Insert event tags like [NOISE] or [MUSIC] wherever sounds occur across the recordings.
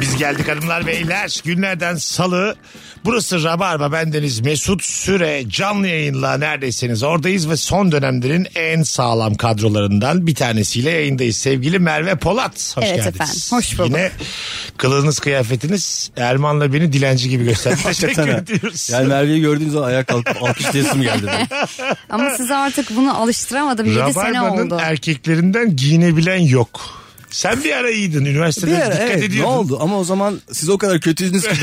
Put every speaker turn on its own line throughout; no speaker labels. Biz geldik hanımlar beyler. Günlerden salı. Burası Rabarba. Bendeniz Mesut Süre. Canlı yayınla neredeyseniz oradayız ve son dönemlerin en sağlam kadrolarından bir tanesiyle yayındayız. Sevgili Merve Polat. Hoş
Evet
geldiniz.
efendim, hoş bulduk.
Yine kılığınız kıyafetiniz Erman'la beni dilenci gibi
[LAUGHS]
gösterdi. Teşekkür
Hakikaten ha.
ediyoruz.
Yani Merve'yi gördüğünüz zaman ayağa kalkıp alkışlayasım geldi. benim.
Ama size artık bunu alıştıramadım. 7 sene
Rabarba'nın
oldu.
erkeklerinden giyinebilen yok. Sen bir ara iyiydin. Üniversitede
[LAUGHS] Bir ara,
dikkat
evet, ne
ediyordun.
oldu ama o zaman siz o kadar kötüydünüz
[LAUGHS]
ki.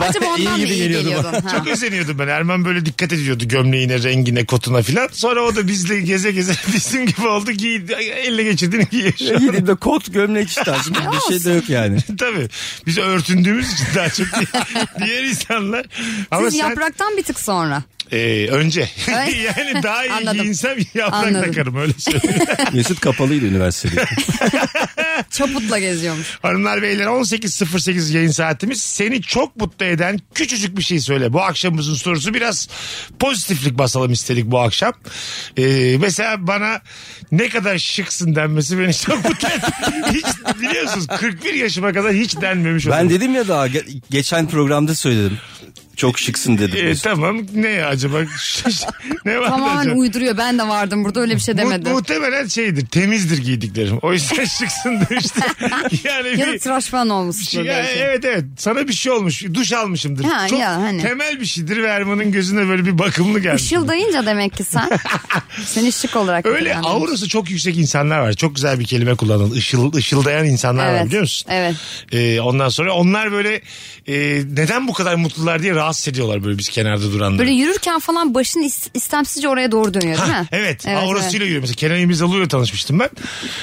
ben
Acaba ondan mı iyi
geliyordum.
geliyordun? Ha.
Çok özeniyordum ben. Erman böyle dikkat ediyordu gömleğine, rengine, kotuna filan. Sonra o da bizle geze geze [LAUGHS] bizim gibi oldu. Giydi, elle geçirdiğini giyiyor şu an.
Gidip de kot gömlek işte aslında bir şey de yok
[LAUGHS]
yani.
[LAUGHS] Tabii. Biz örtündüğümüz için daha çok di- diğer [LAUGHS] insanlar. Ama
Siz
sen
yapraktan bir tık sonra.
e, önce.
Ay.
[LAUGHS] yani daha iyi
Anladım.
giyinsem yaprak
Anladım.
takarım öyle söyleyeyim.
Mesut kapalıydı üniversitede.
Çaputla geziyormuş.
Hanımlar beyler 18.08 yayın saatimiz. Seni çok mutlu eden küçücük bir şey söyle. Bu akşamımızın sorusu biraz pozitiflik basalım istedik bu akşam. Ee, mesela bana ne kadar şıksın denmesi beni çok mutlu etti. [LAUGHS] Hiç biliyorsunuz 41 yaşıma kadar hiç denmemiş oldu.
ben dedim ya daha ge- geçen programda söyledim. Çok şıksın dedim.
Ee,
Mesut.
tamam ne acaba? [LAUGHS] ne var
Tamamen
acaba?
uyduruyor. Ben de vardım burada öyle bir şey
Mu-
demedim.
muhtemelen şeydir temizdir giydiklerim. O yüzden [LAUGHS] şıksın
[LAUGHS]
demiştim. yani
Ya
bir- şey-
da tıraşman olmuş.
Ya, evet evet sana bir şey olmuş duş almışımdır.
Ha,
Çok
ya, hani.
temel bir şeydir ve Erman'ın gözüne böyle bir bakımlı gelmiş.
Işıldayınca demek
[LAUGHS]
ki sen. Seni şık olarak.
Öyle
kullandın.
aurası çok yüksek insanlar var. Çok güzel bir kelime kullanıldı. Işıl, ışıldayan insanlar var
Evet,
biliyor musun?
evet.
Ee, ondan sonra onlar böyle e, neden bu kadar mutlular diye rahatsız ediyorlar böyle biz kenarda duranları.
Böyle yürürken falan başın is- istemsizce oraya doğru dönüyor değil mi?
Evet, aurasıyla yürüyor. Mesela Kenan İmirzalı'yla tanışmıştım ben.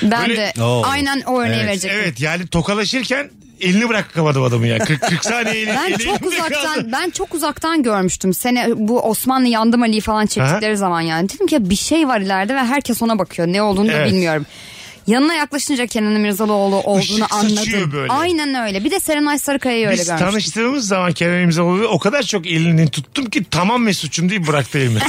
Ben
Böyle-
de
Oo.
aynen o örneği
Evet,
verecektim.
Evet yani tokalaşırken elini bırakamadım adamı ya. 40, 40 saniye eli,
Ben
eli
çok
elimde kaldı.
uzaktan ben çok uzaktan görmüştüm seni bu Osmanlı yandım Ali falan çektikleri zaman yani. Dedim ki ya bir şey var ileride ve herkes ona bakıyor. Ne olduğunu da
Evet.
bilmiyorum. Yanına yaklaşınca Kenan İmirzalıoğlu olduğunu
Işık saçıyor
anladım.
böyle.
Aynen öyle. Bir de Serenay Sarıkaya'yı öyle
Biz
görmüştüm.
tanıştığımız zaman Kenan İmzalıoğlu o kadar çok elini tuttum ki tamam Mesut'cum deyip bıraktı
[LAUGHS]
elimi.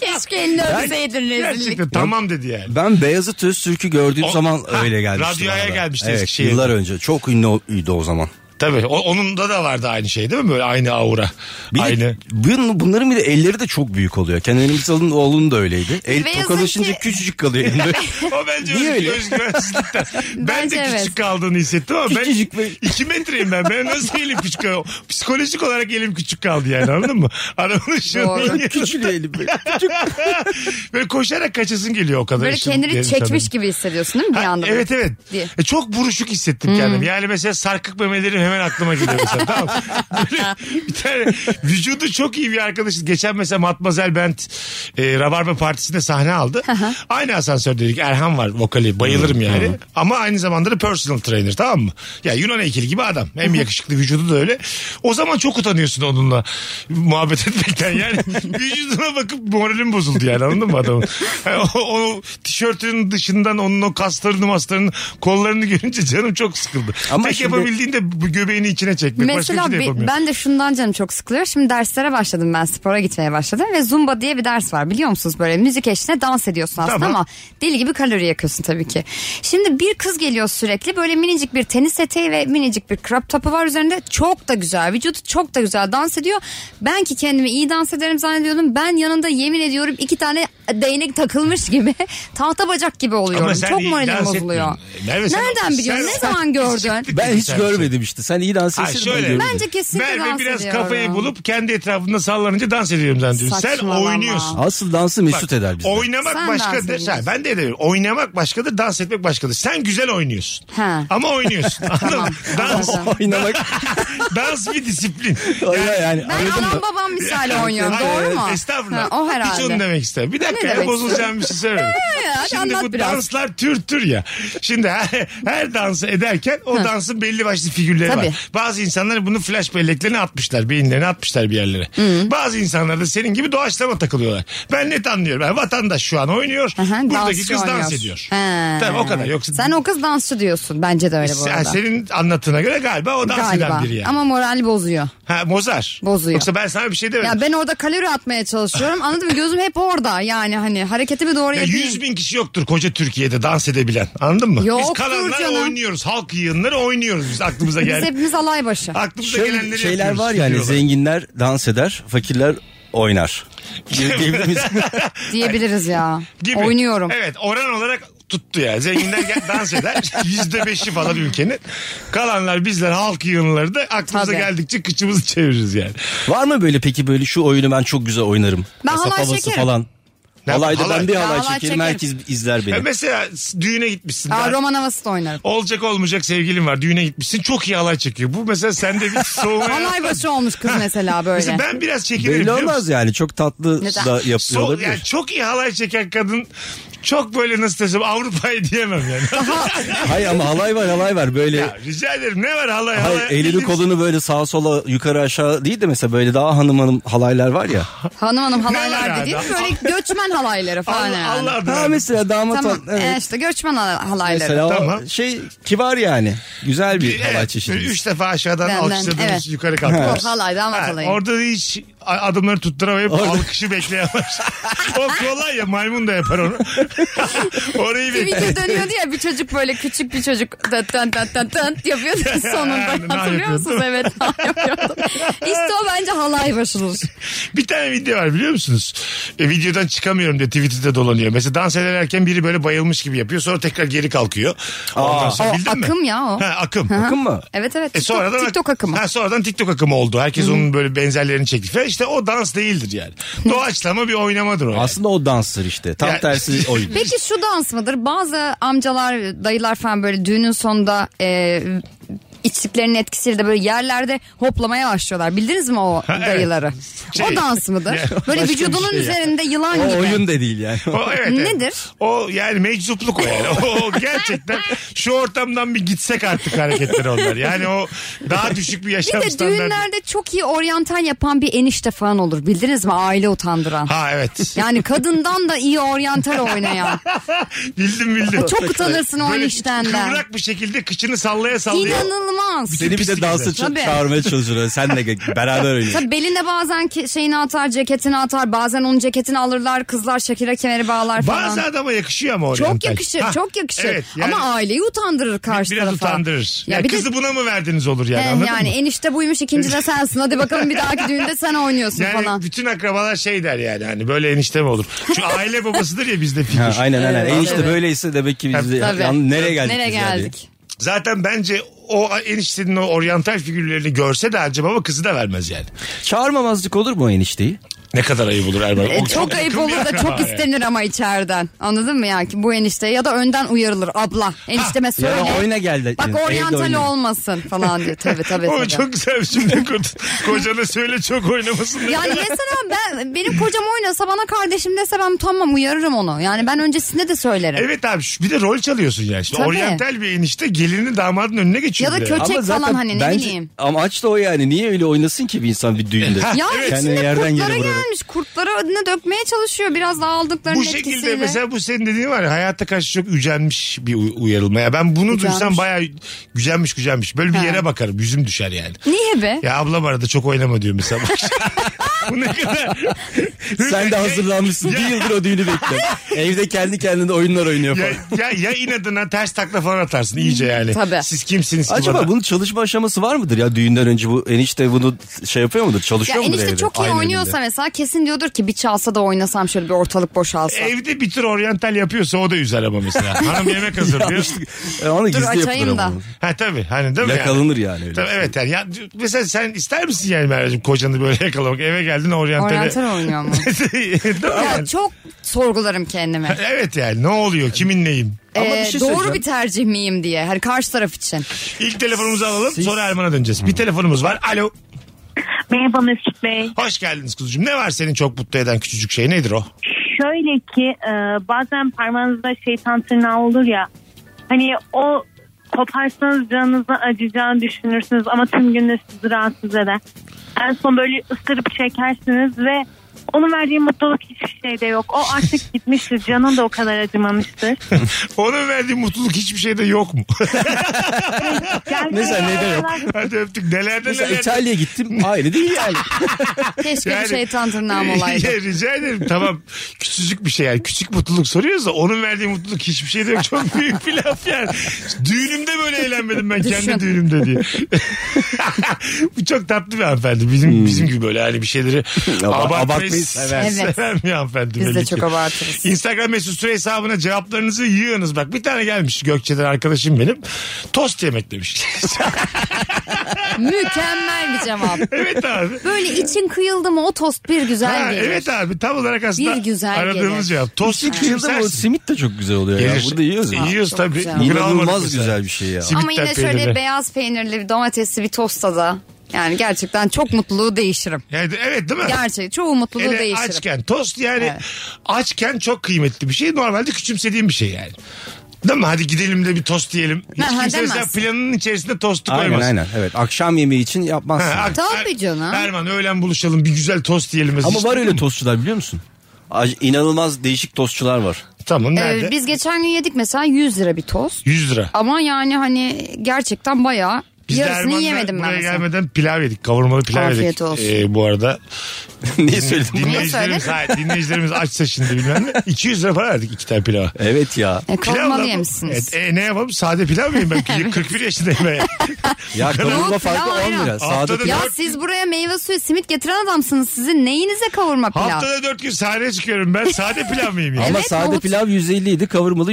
Keşke elini öpseydin rezillik.
Gerçekten tamam dedi yani.
Ben Beyazıt Öztürk'ü gördüğüm
O-
zaman
Ha,
öyle gelmişti.
radyoya
bana da.
gelmişti
Evet,
Eskişehir'de.
yıllar önce. Çok ünlüydü o zaman.
Tabii o- onun da da vardı aynı şey değil mi? Böyle aynı aura.
Bir de [LAUGHS]
aynı.
bunun- bunların bir de elleri de çok büyük oluyor. Kenan İmirzalı'nın oğlunun da öyleydi.
Ve
El
yazık
tokalaşınca
ki-
küçücük kalıyor elinde.
[LAUGHS]
O bence
Niye
öz,
öyle?
özgüvensizlikten. ben de
Bence
küçük
evet.
kaldığını hissettim ama
Küçücük
ben
ve-
2 metreyim ben. Ben nasıl elim küçük kaldı? Psikolojik olarak elim küçük kaldı yani anladın mı? Arabanın
Doğru.
[LAUGHS] şunu
Küçük elim.
Böyle koşarak kaçasın geliyor o kadar.
Böyle
işin
kendini
derin
çekmiş
sanırım.
gibi hissediyorsun değil mi bir
Ha,
anda?
Evet evet.
Diye. Hmm.
E, çok buruşuk hissettim kendimi. Yani mesela sarkık memelerim hemen aklıma geliyor mesela. tamam.
[LAUGHS]
Böyle bir tane vücudu çok iyi bir arkadaşız. Geçen mesela Matmazel Bent e, Rabarba Partisi'nde sahne aldı. aynı asansördeydik. Erhan var vokali.
Hmm,
Bayılırım yani. Ama aynı zamanda da personal trainer tamam mı? Ya Yunan heykeli gibi adam. Hem yakışıklı vücudu da öyle. O zaman çok utanıyorsun onunla muhabbet [LAUGHS] etmekten. Yani vücuduna bakıp moralim bozuldu yani anladın mı adamın? Yani o, o tişörtünün dışından onun o kaslarını maslarını kollarını görünce canım çok sıkıldı.
Ama
Tek
şimdi-
yapabildiğin de bu göbeğini içine çekmek. Başka
Mesela
bir şey de
bi-
yapamıyorsun.
ben de şundan canım çok sıkılıyor. Şimdi derslere başladım ben spora gitmeye başladım ve zumba diye bir ders var biliyor musunuz? Böyle müzik eşliğinde dans ediyorsun aslında
Tamam.
ama deli gibi kalori yakıyorsun tabii ki. Şimdi bir kız geliyor sürekli böyle minicik bir tenis eteği ve minicik bir crop topu var üzerinde. Çok da güzel vücudu çok da güzel dans ediyor. Ben ki kendimi iyi dans ederim zannediyordum. Ben yanında yemin ediyorum iki tane değnek takılmış gibi [LAUGHS] tahta bacak gibi oluyorum.
Ama sen
çok
iyi
moralim
dans
bozuluyor.
etmiyorsun. Merve sen-
Nereden
sen-
biliyorsun? Ne
sen-
zaman gördün?
Ben hiç
Sen-
görmedim işte. Sen iyi dans
Ha,
etsin ben
şöyle.
görmedim.
Bence kesinlikle
Merve
dans
biraz
ediyorum.
kafayı bulup kendi etrafında sallanınca dans ediyorum zannediyorum. Sen
Saçmalama.
oynuyorsun.
Asıl dansı mesut eder bizi.
Oynamak
Sen dans
başkadır.
ediyorsun.
Ha, ben de edemiyorum. Oynamak başkadır, dans etmek başkadır. Sen güzel oynuyorsun.
Ha.
Ama
[LAUGHS]
oynuyorsun. Anladın mı? [LAUGHS] Dans,
anladım.
[LAUGHS] Oynamak.
[LAUGHS] dans bir disiplin.
Oyna yani.
Ben
Anladın
anam
mı?
babam misali oynuyorum.
Hayır,
Doğru mu?
Estağfurullah.
Ha, o
Hiç
herhalde.
onu demek ister. Bir de dakika
Ne
ya
demek
bozulacağım bir şey
[LAUGHS]
söylemedim.
hadi
Şimdi
anlat
bu
biraz.
danslar tür tür ya. Şimdi her, her dansı ederken o dansın belli başlı figürleri
Tabii.
var. Bazı insanlar bunu flash belleklerine atmışlar. Beyinlerine atmışlar bir yerlere. Bazı insanlar da senin gibi doğaçlama takılıyorlar. Ben net anlıyorum. Yani vatandaş şu an oynuyor.
Hı hı,
buradaki
dansçı
kız dans
oynuyor.
ediyor.
He.
Tamam o kadar. Yoksa
Sen o kız dansçı diyorsun. Bence de öyle bu
Sen-
arada.
senin anlattığına göre galiba o dans
Galiba.
eden biri yani.
Ama moral bozuyor.
Ha Mozar.
Bozuyor.
Yoksa ben sana bir şey demedim.
Ya ben orada kalori atmaya çalışıyorum. Anladın mı? Gözüm hep orada. Yani hani hareketimi doğru
Ya
yapayım.
100 bin kişi yoktur koca Türkiye'de dans edebilen. Anladın mı? biz
Yoktur
kalanlar
canım.
oynuyoruz. Halk yığınları oynuyoruz biz aklımıza
Biz
geldi.
hepimiz alay başı.
Aklımıza
Şöyle
gelenleri
şeyler
yapıyoruz,
var hani yani
diyorlar.
zenginler dans eder, fakirler
[LAUGHS]
oynar. Diyebilir miyiz?
Diyebiliriz ya.
Gibi.
Oynuyorum.
Evet oran olarak tuttu ya. Zenginler gel- [LAUGHS] dans eder. Yüzde beşi falan ülkenin. Kalanlar bizler halk yığınları da aklımıza
Tabii.
geldikçe kıçımızı çeviririz yani.
Var mı böyle peki böyle şu oyunu ben çok güzel oynarım.
Ben
Kasap
halay
havası
çekerim.
falan.
Ne
Halayda
yapayım?
ben bir
Halay.
halay
Ben halay
çekerim herkes izler
Ya
beni.
mesela düğüne gitmişsin.
Aa,
Daha-
roman havası da oynarım.
Olacak olmayacak sevgilin var. Düğüne gitmişsin. Çok iyi halay çekiyor. Bu mesela sende
[LAUGHS]
bir soğuma.
Alay başı olmuş kız mesela böyle.
Mesela ben biraz çekinirim.
Belli
biliyor musun?
olmaz yani çok tatlı
Neden?
da yapıyor
Sol- yani [LAUGHS]
olabilir.
çok iyi halay çeken kadın çok böyle nasıl desem Avrupa'yı diyemem
[LAUGHS]
yani.
Hayır ama halay var halay var böyle.
Ya Rica ederim ne var halay halay.
Hayır, elini
Bildiğin-
kolunu böyle sağa sola yukarı aşağı değil de mesela böyle daha hanım hanım halaylar var ya.
Hanım hanım
Ne var
halaylar
abi?
dediğim böyle göçmen halayları falan
Allah,
yani.
Allah adına.
Ha mesela damat
Tamam.
hal- evet.
e, işte göçmen hal- halayları.
Mesela o
Tamam.
şey kibar yani. Güzel bir
Evet,
halay çeşidi.
Üç defa aşağıdan
Benden,
alkışladığımız
evet.
yukarı kalkıyoruz.
O halay, damat halayı.
Orada da hiç a- adımları tutturamayıp alkışı
[LAUGHS]
bekleyemez. o kolay ya maymun da yapar onu. [LAUGHS] Orayı [LAUGHS]
bir video
bekliyor.
dönüyordu ya bir çocuk böyle küçük bir çocuk tın tın tın tın tın yapıyordu
[LAUGHS]
sonunda.
Ne
Hatırlıyor musunuz? Evet
[LAUGHS]
yapıyordum. İşte o bence halay başılır.
Bir tane video var biliyor musunuz? E, videodan çıkamıyorum diye Twitter'da dolanıyor. Mesela dans ederken biri böyle bayılmış gibi yapıyor. Sonra tekrar geri kalkıyor. Ondan
Aa.
sonra
O
bildin mi?
akım ya o.
Ha, akım.
Bakın mı?
Evet evet
E
TikTok,
sonradan
TikTok akımı.
Ha, sonradan TikTok akımı oldu. Herkes onun böyle benzerlerini çekti. Falan. İşte o dans değildir yani. Doğaçlama bir oynamadır o. yani.
Aslında o danstır işte. Tam
Ya-
tersi
[LAUGHS]
oyun.
Peki şu dans mıdır? Bazı amcalar, dayılar falan böyle düğünün sonunda e, içtiklerinin etkisiyle de böyle yerlerde hoplamaya başlıyorlar. Bildiniz mi o
evet.
dayıları?
Şey-
o dans
[LAUGHS]
mıdır?
Ya,
böyle
başka bir
vücudunun
şey ya.
üzerinde yılan
O
gibi.
oyun da değil yani. [LAUGHS]
O, evet, evet.
Nedir?
O yani meczupluk o yani. O, o gerçekten şu ortamdan bir gitsek artık hareketleri onlar. Yani o daha düşük bir
Bir
yaşam
de
standartı.
düğünlerde çok iyi oryantal yapan bir enişte falan olur. Bildiniz mi?
[LAUGHS]
Aile utandıran.
Ha evet.
Yani kadından da iyi oryantal
[LAUGHS]
oynayan.
bildim bildim.
Çok utanırsın o
Böyle
eniştenden.
Kıvrak bir şekilde kıçını sallaya sallaya.
İnanılmaz.
Seni bir de
Pislik
dansa
güzel.
ça-
Tabii.
çağırmaya çalışırlar. Senle beraber oynayın.
Tabii beline bazen ki- şeyini atar, ceketini atar. Bazen onun ceketini alırlar. Kızlar şakire kemeri bağlar falan.
Bazı adama yakışıyor ama oryantal.
Çok yakışır,
Ha,
çok yakışır.
evet, yani
Ama aileyi utandırır karşı
Biraz
tarafa.
utandırır. Ya,
Ya, bir de-
kızı buna mı verdiniz olur yani
He,
anladın
yani
mı?
enişte buymuş ikinci de sensin. Hadi bakalım bir dahaki düğünde sen oynuyorsun
Yani
falan.
bütün akrabalar şey der yani hani böyle enişte mi olur?
[LAUGHS]
Şu aile babasıdır ya bizde figür.
Ha, aynen aynen.
Evet,
Enişte
evet.
böyleyse demek ki biz de
Tabii.
yan- nereye geldik
Nereye
biz yani?
geldik?
Zaten bence o eniştenin o oryantal figürlerini görse de acaba ama kızı da vermez yani.
Çağırmamazlık olur mu enişteyi?
Ne kadar ayıp olur Erman.
E,
O
çok, ayıp
yakın bir
olur da
akraba
çok
yani.
istenir ama içeriden. Anladın mı yani ki bu enişte ya da önden uyarılır abla. Enişteme söyle.
Ya da oyna gel de.
Bak
yani, evde
oryantal
oynayın.
olmasın falan diyor. Tabii tabii.
Oğlum
tabii.
çok güzel bir cümle kurdu. [LAUGHS] Kocana söyle çok oynamasın. diye.
Yani mesela ben benim kocam oynasa bana kardeşim dese ben utanmam uyarırım onu. Yani ben öncesinde de söylerim.
Evet abi şu- bir de rol çalıyorsun yani. Şimdi
Tabii.
oryantal bir enişte gelini damadın önüne geçiyor.
Ya da
bir de.
kötü- Çek falan hani, ne
bence
bileyim.
amaç da o yani. Niye öyle oynasın ki bir insan bir düğünde?
Ya
Kendini
içinde
yerden yere
kurtlara
vurarak.
gelmiş. Kurtlara ne dökmeye çalışıyor biraz daha aldıklarının
Bu
etkisiyle.
şekilde mesela bu senin dediğin var ya hayata karşı çok ücenmiş bir u- uyarılma. Ya ben bunu
Gücenmiş.
duysam bayağı gücenmiş gücenmiş. Böyle bir
Ha.
yere bakarım yüzüm düşer yani.
Niye be?
Ya ablam arada çok oynama diyor mesela.
[LAUGHS]
bu ne kadar.
Sen de hazırlanmışsın. bir yıldır o
[LAUGHS]
düğünü bekle. Evde kendi kendine oyunlar oynuyor
Ya,
falan.
ya, ya inadına ters takla falan atarsın iyice yani.
Tabii.
Siz kimsiniz ki bana?
Acaba bunun çalışma aşaması var mıdır ya düğünden önce bu enişte bunu şey yapıyor mudur?
Ya
Çalışıyor mudur
enişte
evde?
çok iyi
Aynı
oynuyorsa
elinde.
mesela kesin diyordur ki bir çalsa da oynasam şöyle bir ortalık boşalsa.
E, Evde bir tür oryantal yapıyorsa o da üzer ama
[LAUGHS]
mesela. Hanım yemek hazırlıyor.
E, onu gizli
açayım
yapılır
da.
ama.
ha tabii hani değil mi?
Yakalanır yani öyle. şey.
Tabii, evet yani. Ya, mesela sen ister misin yani Merveciğim kocanı böyle yakalamak eve geldin oryantale. [LAUGHS]
Oryantal oynuyor mu?
Değil mi yani?
Ya çok
[LAUGHS]
sorgularım kendimi.
Evet yani ne oluyor kimin neyim?
Ama bir
Ee,
şey
doğru
söyleyeceğim.
bir tercih miyim diye. Hani karşı
[LAUGHS]
taraf için.
İlk telefonumuzu alalım sonra Erman'a döneceğiz. Bir telefonumuz var. Alo.
Merhaba Mesut Bey.
Hoş geldiniz kuzucuğum. Ne var senin çok mutlu eden küçücük şey nedir o?
Şöyle ki e, bazen parmağınızda şeytan tırnağı olur ya. Hani o koparsanız canınızı acıyacağını düşünürsünüz ama tüm gün de sizi rahatsız eder. En son böyle ıstırıp çekersiniz ve onun verdiği mutluluk hiçbir şeyde yok. O artık gitmiştir. Canın da o kadar acımamıştır.
Onun verdiği mutluluk hiçbir şeyde yok mu? [LAUGHS]
Gerçekten
Mesela neyde yok?
Hadi öptük. Nelerde
Mesela
nelerde.
İtalya'ya gittim. Aynı değil
[LAUGHS]
yani.
Keşke
Yani-
bir
[LAUGHS]
şeytan tırnağım olaydı.
Ya, rica ederim tamam küçücük bir şey yani küçük mutluluk soruyoruz da onun verdiği mutluluk hiçbir şey de yok çok
[LAUGHS]
büyük bir laf yani düğünümde böyle eğlenmedim ben kendi
Düşün.
düğünümde
[LAUGHS]
diye bu çok tatlı bir hanımefendi bizim, bizim gibi böyle hani bir şeyleri
Abart-
abartmayı
abartmayı
seven,
sever.
Evet.
bir hanımefendi
Biz
belli
de
ki.
çok abartırız.
Instagram mesut süre hesabına cevaplarınızı yığınız bak bir tane gelmiş Gökçe'den arkadaşım benim tost yemek demiş [LAUGHS]
Mükemmel bir cevap.
evet abi
Böyle için kıyıldı mı o tost bir güzel
Ha,
gelir.
evet abi tam olarak aslında
Bir güzel
aradığımız
gelir.
cevap. Tost
Tostu kıyıldı mı?
küçümsersin.
Simit de çok güzel oluyor ya. Burada yiyoruz ya.
Yiyoruz
Çok
tabii.
güzel.
Bugün almadık
İnanılmaz
mesela.
güzel bir şey ya.
Simit
Ama yine
tat
şöyle
peynirli.
beyaz peynirli bir domatesli bir tostada da yani gerçekten çok mutluluğu değişirim.
Yani, evet değil mi?
Gerçek çoğu mutluluğu
Hele
değişirim.
açken tost yani
Evet.
açken çok kıymetli bir şey. Normalde küçümsediğim bir şey yani. Değil mi? Hadi gidelim de bir tost yiyelim. Hiç
Ha, ha,
kimse mesela
demezsin.
planının içerisinde tostu
Aynen
koymaz.
aynen. Evet. Akşam yemeği için yapmazsın.
Ha, ak-
Tabii
Er-
canım.
Erman öğlen buluşalım bir güzel tost yiyelim.
Ama
Hiç-
var öyle tostçular biliyor musun? Ac- İnanılmaz değişik tostçular var.
Tamam
Ee,
nerede?
biz geçen gün yedik mesela 100 lira bir tost.
100 lira.
Ama yani hani gerçekten bayağı
Biz de
yarısını
Erman'la
yemedim ben
buraya
mesela.
gelmeden pilav yedik. Kavurmalı pilav
Afiyet
yedik.
olsun.
Ee, bu arada
Niye söyledim? bunu?
dinleyicilerimiz, [LAUGHS] hayır,
söyledin?
dinleyicilerimiz açsa şimdi bilmem ne. 200 lira para verdik iki tane pilava.
[LAUGHS] Evet ya.
E, kavurmalı
Pilavla-
yemişsiniz.
E, e, ne yapalım? Sade pilav mıyım
[LAUGHS]
ben? 41 yaşındayım ben.
Ya kavurma
Yok,
farkı
pilav
10 lira.
ayran.
Sade
Haftada
pilav.
ya
dört-
siz buraya meyve suyu simit getiren adamsınız. Sizin neyinize kavurma pilav?
Haftada 4 gün sahneye çıkıyorum ben. Sade pilav mıyım ya? [LAUGHS]
Ama
Evet,
sade
nohut.
pilav 150 idi kavurmalı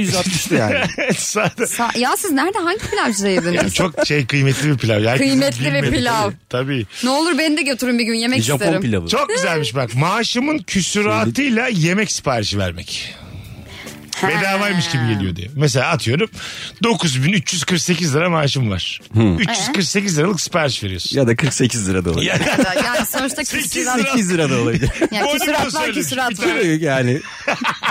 [LAUGHS]
160'tı yani.
Sade.
Sa- ya siz nerede hangi pilavcıda
Ya
yediniz?
çok şey kıymetli bir pilav. ya. Herkesin
Kıymetli bir
bilmediği-
pilav.
Tabii.
Ne olur beni de götürün bir gün yemek
Japon
isterim.
pilavı.
Çok güzelmiş bak. Maaşımın küsuratıyla yemek siparişi vermek. Bedavaymış gibi geliyor diye. Mesela atıyorum 9348 lira maaşım var. 348 liralık sipariş veriyorsun.
Ya da 48 lira da olabilir.
Ya,
Yani sonuçta
Sekiz [LAUGHS]
küsurat.
lira.
8 lira da olabilir.
Ya
Boynuma
küsuratlar
söylemiş. Bir
küsuratlar.
tane-
yani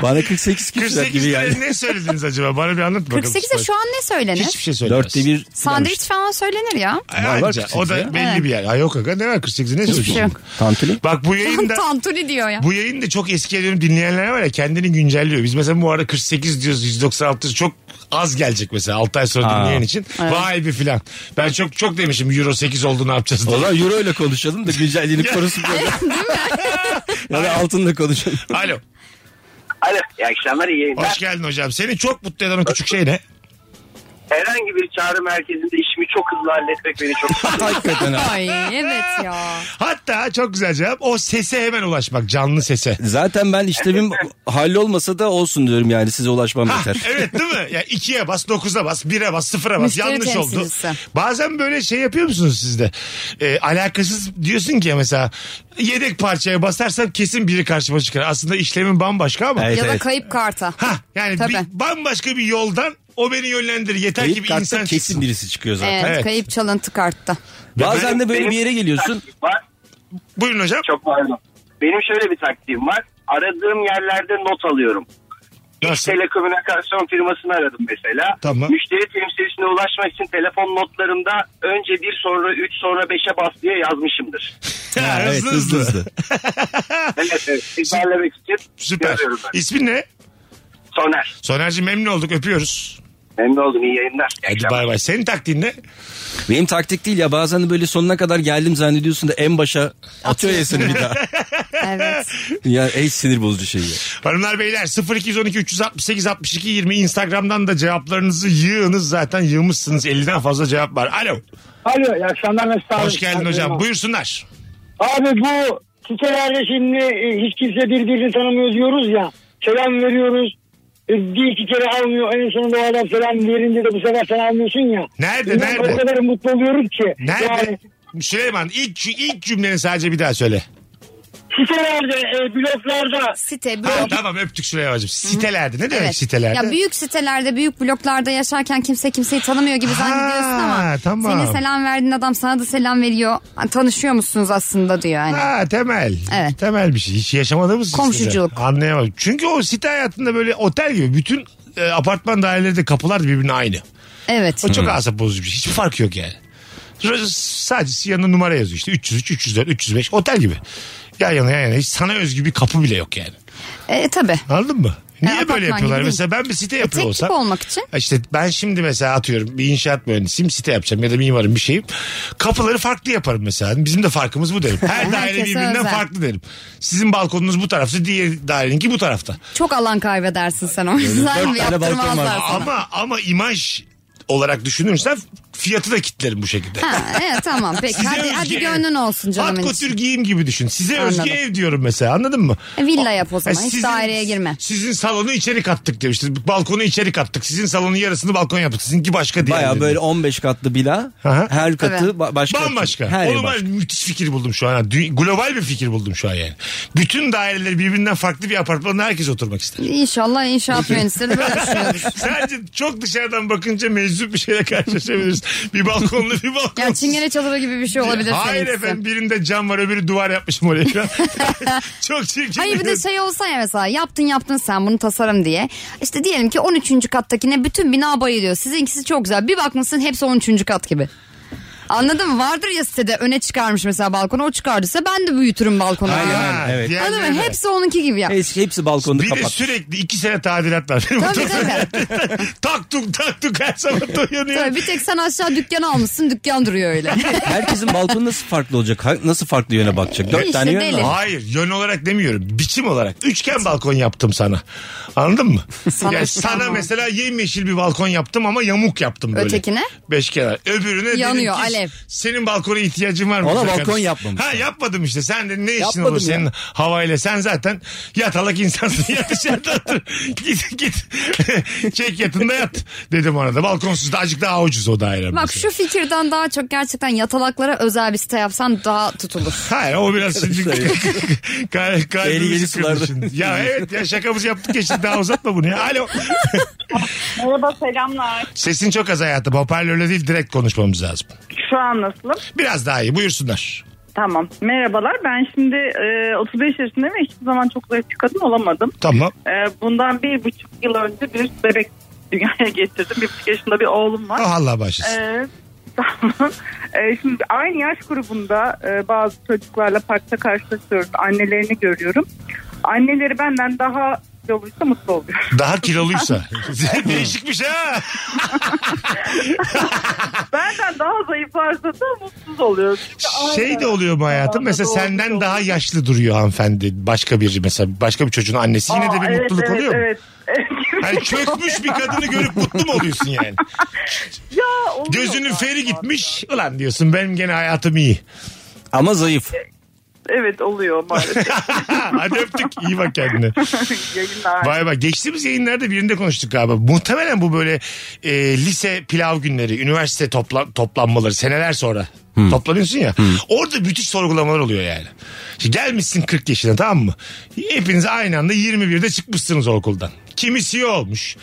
bana 48 küsurat
48
gibi
lira
yani.
ne söylediniz acaba? Bana bir anlat bakalım.
48'e şu an ne söylenir?
Hiçbir şey söylemez.
Dörtte bir
Sandviç falan söylenir ya.
Var, var
Anca. o
48
da
ya.
belli bir yer. Ha yok aga ne var 48'i ne
Hiçbir şey
söylüyorsun?
yok.
Tantuni.
Bak
[LAUGHS]
bu yayında
Tantuni diyor ya.
bu yayında çok eski ediyorum dinleyenler var ya kendini güncelliyor. Biz mesela bu arada 48 diyoruz 196 diyoruz. çok az gelecek mesela 6 ay sonra
Ha.
dinleyen için. Vay bir filan. Ben çok çok demişim euro 8 oldu ne yapacağız
O
diye.
zaman euro ile konuşalım da güncelliğini
[LAUGHS]
korusun. ya da altınla konuşalım.
Alo.
Alo. İyi akşamlar iyi yayınlar.
Hoş geldin hocam. Seni çok mutlu eden o küçük şey ne?
Herhangi bir çağrı merkezinde işimi çok hızlı halletmek beni
[LAUGHS]
çok mutlu ediyor.
Hakikaten ha.
Ay evet ya.
Hatta çok güzel cevap o sese hemen ulaşmak canlı sese.
Zaten
[LAUGHS]
ben işlemim hallolmasa da olsun diyorum yani size ulaşmam
Ha,
yeter.
Ah, evet değil mi? Ya ikiye bas, dokuza bas, bire bas, sıfıra bas.
Müşteri
Yanlış oldu.
temsilcisi.
Bazen böyle şey yapıyor musunuz siz de? Ee, alakasız diyorsun ki mesela yedek parçaya basarsam kesin biri karşıma çıkar. Aslında işlemin bambaşka ama.
Evet,
Ya da
evet.
kayıp karta.
Ha yani
Tabii.
bir- bambaşka bir yoldan o beni yönlendirir. Yeter ki
Kayıp
bir
kartta
insan
kesin
çıksın.
birisi çıkıyor zaten.
Evet,
Evet.
kayıp çalıntı kartta.
Bazen de böyle bir yere geliyorsun.
Taktiğim Var,
Buyurun hocam.
çok pardon. Benim şöyle bir taktiğim var. Aradığım yerlerde not alıyorum.
Nasıl?
Telekomünikasyon firmasını aradım mesela.
Tamam.
Müşteri temsilcisine ulaşmak için telefon notlarımda önce bir sonra üç sonra beşe bas diye
[LAUGHS]
yazmışımdır.
[LAUGHS] Ha,
Ha, evet,
hızlı hızlı.
hızlı.
Evet, evet. İzlerlemek için
Süper.
yazıyorum ben.
İsmin ne?
Soner.
Soner'cim memnun olduk öpüyoruz.
Memnun oldum. iyi yayınlar. İyi
Hadi
akşamlar.
bay bay. Senin taktiğin ne?
Benim taktik değil ya bazen de böyle sonuna kadar geldim zannediyorsun da en başa atıyor ya seni bir
[LAUGHS]
daha.
Evet.
Ya ey sinir bozucu şey ya.
Hanımlar beyler 0212 368 62 20 Instagram'dan da cevaplarınızı yığınız zaten yığmışsınız 50'den fazla cevap var. Alo.
Alo iyi akşamlar Mesut abi.
Hoş geldin hocam. Buyursunlar.
Abi bu sitelerde şimdi e, hiç kimse birbirini tanımıyor diyoruz ya. Selam veriyoruz. E, Bir iki kere almıyor. En sonunda o adam selam verince de bu sefer sen almıyorsun ya.
Nerede,
Bundan
nerede?
O kadar mutlu oluyoruz ki.
Nerede?
Yani
Süleyman ilk, ilk cümleni sadece bir daha söyle.
sitelerde, e, bloklarda
Site, blok.
Ha, tamam öptük Süreyya Bacım. Sitelerde ne demek
Evet.
sitelerde?
Ya büyük sitelerde, büyük bloklarda yaşarken kimse kimseyi tanımıyor gibi zannediyorsun ama
tamam.
seni selam verdiğin adam sana da selam veriyor. Hani Tanışıyor musunuz aslında diyor hani. yani.
Ha temel.
Evet.
Temel bir şey. Hiç yaşamadınız mı?
Komşuculuk.
Siz de? Anlayamadım. Çünkü o site hayatında böyle otel gibi bütün e, apartman daireleri de kapılar da birbirine aynı.
Evet.
O çok asap bozucu bir şey. Hiçbir fark yok yani. R- Sadece yanına numara yazıyor işte 303, 304, 305 otel gibi. Yan yana yan yana. Hiç sana özgü bir kapı bile yok yani.
E, tabii.
Anladın mı?
Ya,
Niye
apartman
böyle yapıyorlar?
gibi değil.
Mesela ben bir site
E,
yapıyor
tek tip
olsam.
olmak için.
İşte ben şimdi mesela atıyorum bir inşaat mühendisiyim site yapacağım ya da mimarım bir şeyim. Kapıları farklı yaparım mesela. Bizim de farkımız bu derim. Her daire
[LAUGHS] Herkese
birbirinden
özel.
farklı derim. Sizin balkonunuz bu tarafta diğer daireninki bu tarafta.
Çok alan kaybedersin sen o yüzden
tane balkon var.
yaptırmazlar sana.
Ama ama imaj olarak düşünürsen fiyatı da kitlerim bu şekilde.
Ha, evet tamam peki
Size
hadi,
özgü
hadi
ev.
gönlün olsun canım.
Hat
benim.
kotür giyim gibi düşün. Size özgü
Anladım.
ev diyorum mesela anladın mı?
E, Villa yap o zaman
Ha,
hiç daireye girme.
Sizin salonu içeri kattık demiştiniz. Balkonu içeri kattık. Sizin salonun yarısını balkon yaptık. Sizinki başka diye.
Baya böyle 15 katlı bina.
Aha.
Her katı
Evet.
ba- başka.
Bambaşka.
Her
Oğlum
yer
ben müthiş fikir buldum şu an. Dü- Global bir fikir buldum şu an yani. Bütün daireleri birbirinden farklı bir apartmanda herkes oturmak ister. [LAUGHS]
İnşallah inşaat mühendisleri de böyle şey- [LAUGHS] düşünüyordur.
Sadece çok dışarıdan bakınca meczup bir şeyle karşılaşabiliriz. bir balkonlu bir balkon.
Yani çingene çadırı gibi bir şey olabilir
Hayır
seninkisi.
efendim birinde cam var öbürü duvar yapmışım
[LAUGHS]
oraya. şu an. çok çirkin.
Hayır bir de şey olsa ya mesela yaptın yaptın sen bunu tasarım diye. İşte diyelim ki 13. kattakine bütün bina bayılıyor. Sizinkisi çok güzel. Bir bakmışsın hepsi 13. kat gibi. Anladın mı? Vardır ya sitede öne çıkarmış mesela balkonu. O çıkardıysa ben de büyütürüm balkonu.
Aynen.
Ha,
Evet.
diğerleri
Anladın mı?
de.
Hepsi onunki gibi yap.
Hepsi, hepsi balkonda
Bir de
kapat.
sürekli iki sene tadilat var. Benim
Tabii,
otobüs- [LAUGHS] tak tuk tak tuk her sabah da uyanıyor.
Tabii bir tek sen aşağı dükkan almışsın. Dükkan duruyor
[LAUGHS]
öyle.
Herkesin balkonu nasıl farklı olacak? Ha- Nasıl farklı yöne bakacak? Dört
İşte
tane yön
deli.
var.
Hayır yön olarak demiyorum. Biçim olarak. Üçgen balkon yaptım sana. Anladın mı?
[LAUGHS] Sana
yani
üçgen
sana
balkon.
mesela yemyeşil bir balkon yaptım ama yamuk yaptım böyle.
Ötekine?
Beş kenar. Öbürüne dedim
Yanıyor,
ki,
alev.
Senin balkona ihtiyacın var mı?
Ona
güzel
balkon
kardeşim?
yapmamış.
Ha yapmadım işte. Sen de ne işin
Yapmadım
olur
ya.
senin havayla. Sen zaten yatalak insansın. [LAUGHS] Yat dışarıda otur. Git [LAUGHS] git. Çek yatında yat. Dedim ona da. Balkonsuz da azıcık daha ucuz o daire.
Bak
mesela.
şu fikirden daha çok gerçekten yatalaklara özel bir site yapsan daha tutulur.
Hayır o biraz şimdi [LAUGHS] kal,
Tehlikeli
kalbimizi kırdı
sularda.
şimdi. Ya evet ya şakamızı yaptık ya şimdi daha uzatma bunu ya. Alo.
Merhaba selamlar.
Sesin çok az hayatım. Hoparlörle değil direkt konuşmamız lazım.
Şu an nasılım?
Biraz daha iyi buyursunlar.
Tamam. Merhabalar. Ben şimdi e, 35 yaşındayım ve hiçbir zaman çok zayıf bir kadın olamadım.
Tamam.
E, bundan bir buçuk yıl önce bir bebek dünyaya getirdim. Bir buçuk yaşında bir oğlum var.
Oh Allah bağışlasın.
E, tamam. E, şimdi aynı yaş grubunda e, bazı çocuklarla parkta karşılaşıyoruz. Annelerini görüyorum. Anneleri benden daha olursa mutlu oluyor. [LAUGHS]
Daha kiloluysa. [LAUGHS] Değişikmiş ha.
Benden daha zayıflarsa da mutsuz oluyor. Çünkü
Şey
aynı-
de oluyor mu hayatım?
Doğru,
Mesela
doğru,
senden
doğru.
daha yaşlı duruyor hanımefendi. Başka biri mesela başka bir çocuğun annesi. Yine
Aa,
de bir
evet,
mutluluk
evet,
oluyor mu?
Evet. [LAUGHS]
Hani çökmüş bir kadını görüp mutlu mu oluyorsun
[LAUGHS]
yani?
ya, oluyor
Gözünün
galiba.
feri gitmiş. Ulan diyorsun benim gene hayatım iyi.
Ama zayıf.
Evet oluyor
[LAUGHS]
maalesef.
Hadi öptük. İyi bak kendine.
Yayınlar.
Vay vay. Geçtiğimiz yayınlarda birinde konuştuk galiba. Muhtemelen bu böyle e, lise pilav günleri, üniversite topla, toplanmaları seneler sonra
Hmm.
toplanıyorsun ya. Orada müthiş sorgulamalar oluyor yani. Şimdi gelmişsin 40 yaşına tamam mı? Hepiniz aynı anda 21'de çıkmışsınız okuldan. Kimi CEO olmuş.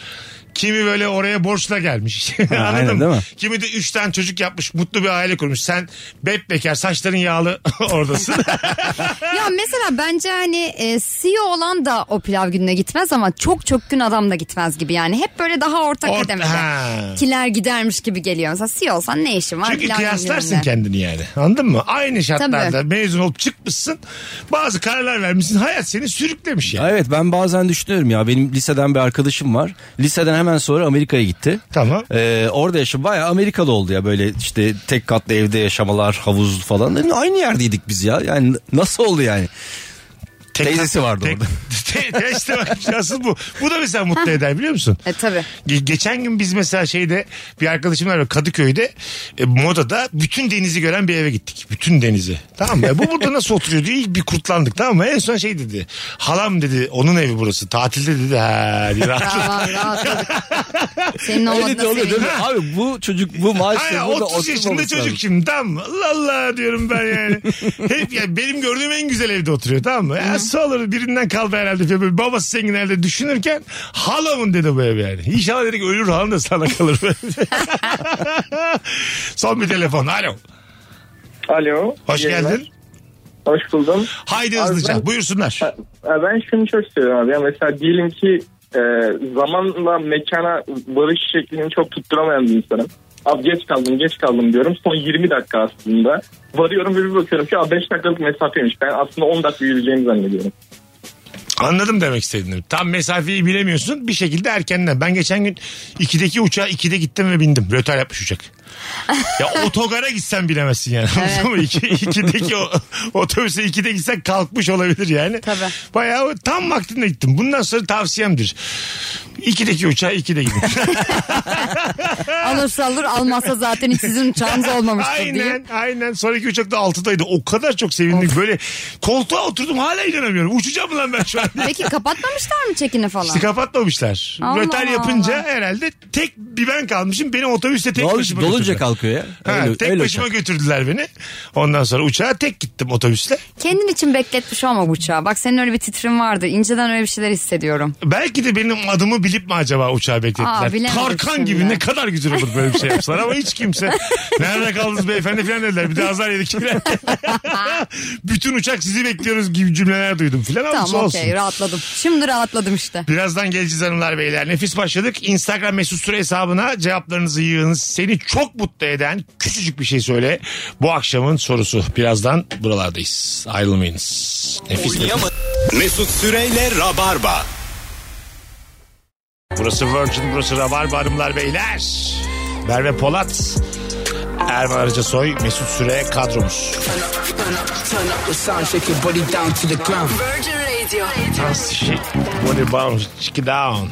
Kimi böyle oraya borçla gelmiş. [LAUGHS] Anladın
aynen,
mı?
değil mi?
Kimi de 3 tane çocuk yapmış. Mutlu bir aile kurmuş. Sen bep bekar saçların yağlı [LAUGHS] oradasın.
[LAUGHS]
Ya mesela bence hani e, CEO olan da o pilav gününe gitmez ama çok çok gün adam da gitmez gibi yani. Hep böyle daha orta
Ort- Ha.
kademede. Kiler gidermiş gibi geliyor. Mesela CEO olsan ne işin var?
Çünkü
pilav
kıyaslarsın
günlerinde?
kendini yani. Anladın mı? Aynı şartlarda
Tabii.
mezun olup çıkmışsın. Bazı kararlar vermişsin. Hayat seni sürüklemiş yani.
Evet ben bazen düşünüyorum ya benim liseden bir arkadaşım var. Liseden hemen sonra Amerika'ya gitti.
Tamam.
Ee, orada yaşa bayağı Amerikalı oldu ya böyle işte tek katlı Hani evde yaşamalar havuz falan. Yani aynı yerdeydik biz ya yani nasıl oldu yani?
Tek-
Teyzesi vardı
tek-
orada.
[LAUGHS] Te- te- işte bak [LAUGHS] asıl bu. Bu da mesela mutlu eder biliyor musun?
E tabi.
Ge- Geçen gün biz mesela şeyde bir arkadaşımla var, Kadıköy'de e, modada bütün denizi gören bir eve gittik. Bütün denizi. Tamam mı? Bu burada nasıl oturuyor diye ilk bir kurtlandık tamam mı? En son şey dedi. Halam dedi onun evi burası. Tatilde dedi. Ha, diye rahatladı.
Tamam rahatladık. Senin
Öyle de
olmadığına
oluyor değil mi?
sevindim.
Abi bu çocuk bu maaşla
Aynen,
burada
30 yaşında
oturmaması
çocuk
lazım.
şimdi tamam mı? Allah Allah diyorum ben
[LAUGHS]
yani. Hep ya benim gördüğüm en güzel evde oturuyor tamam mı? Ya su alır birinden kaldı herhalde. falan. Böyle babası zengin herhalde düşünürken halamın dedi bu ev yani. İnşallah dedik ölür halam da sana kalır. [LAUGHS] Son bir telefon. Alo.
Alo.
Hoş
iyi yayınlar.
geldin.
Hoş buldum.
Haydi
Abi
hızlıca.
ben-
Buyursunlar.
Ha, Ben şunu çok istiyorum abi. Ya mesela diyelim ki e, zamanla mekana varış şeklini çok tutturamayan bir insanım. Abi geç kaldım geç kaldım diyorum. Son 20 dakika aslında. Varıyorum ve bir bakıyorum ki 5 dakikalık mesafeymiş. Ben aslında 10 dakika yürüyeceğimi zannediyorum.
Anladım demek istediğini. Tam mesafeyi bilemiyorsun. Bir şekilde erkenden. Ben geçen gün 2'deki uçağa 2'de gittim ve bindim. Rötar yapmış
[LAUGHS]
uçak. ya otogara gitsen bilemezsin yani. Anladın mı? İki, ikideki o, otobüse 2'de gitsen kalkmış olabilir yani.
Tabii.
Bayağı tam vaktinde gittim. Bundan sonra tavsiyemdir. 2'deki uçağa 2'de
[LAUGHS]
gidin.
Alırsa alır almazsa zaten hiç sizin uçağınız olmamıştır
aynen,
diye.
Aynen Sonraki uçak da 6'daydı. O kadar çok sevindim. Böyle koltuğa oturdum hala inanamıyorum. Uçacağım mı lan ben şu an?
Peki kapatmamışlar mı çekini falan?
İşte kapatmamışlar.
Allah
Rötar yapınca
Allah.
herhalde tek bir ben kalmışım. Beni otobüste tek
Dol-
başıma
dolunca
götürdüler.
kalkıyor ya.
Ha,
Öyle,
tek
öyle şey.
başıma
uçak.
götürdüler beni. Ondan sonra uçağa tek gittim otobüsle.
Kendin için bekletmiş olma uçağı. Bak senin öyle bir titrin vardı. İnceden öyle bir şeyler hissediyorum.
Belki de benim adımı bilip mi acaba uçağa
Aa,
beklettiler?
bilemedim
Tarkan
şimdi.
gibi ne kadar güzel olur böyle bir şey yapsalar ama hiç
[LAUGHS]
kimse nerede kaldınız beyefendi falan dediler. Bir de azar yedik. Bütün uçak sizi bekliyoruz gibi cümleler duydum falan ama
Tamam
olsun.
okey rahatladım. Şimdi rahatladım işte.
Birazdan geleceğiz hanımlar beyler. Nefis başladık. Instagram mesut süre hesabına cevaplarınızı yığınız. Seni çok mutlu eden küçücük bir şey söyle. Bu akşamın sorusu. Birazdan buralardayız. Ayrılmayınız. Nefis.
Mesut Süreyle Rabarba.
Burası Virgin, burası Rabarba hanımlar beyler. Merve Polat, Erman Arıca Soy, Mesut Süre kadromuz. Dans işi, body bounce, chicky down.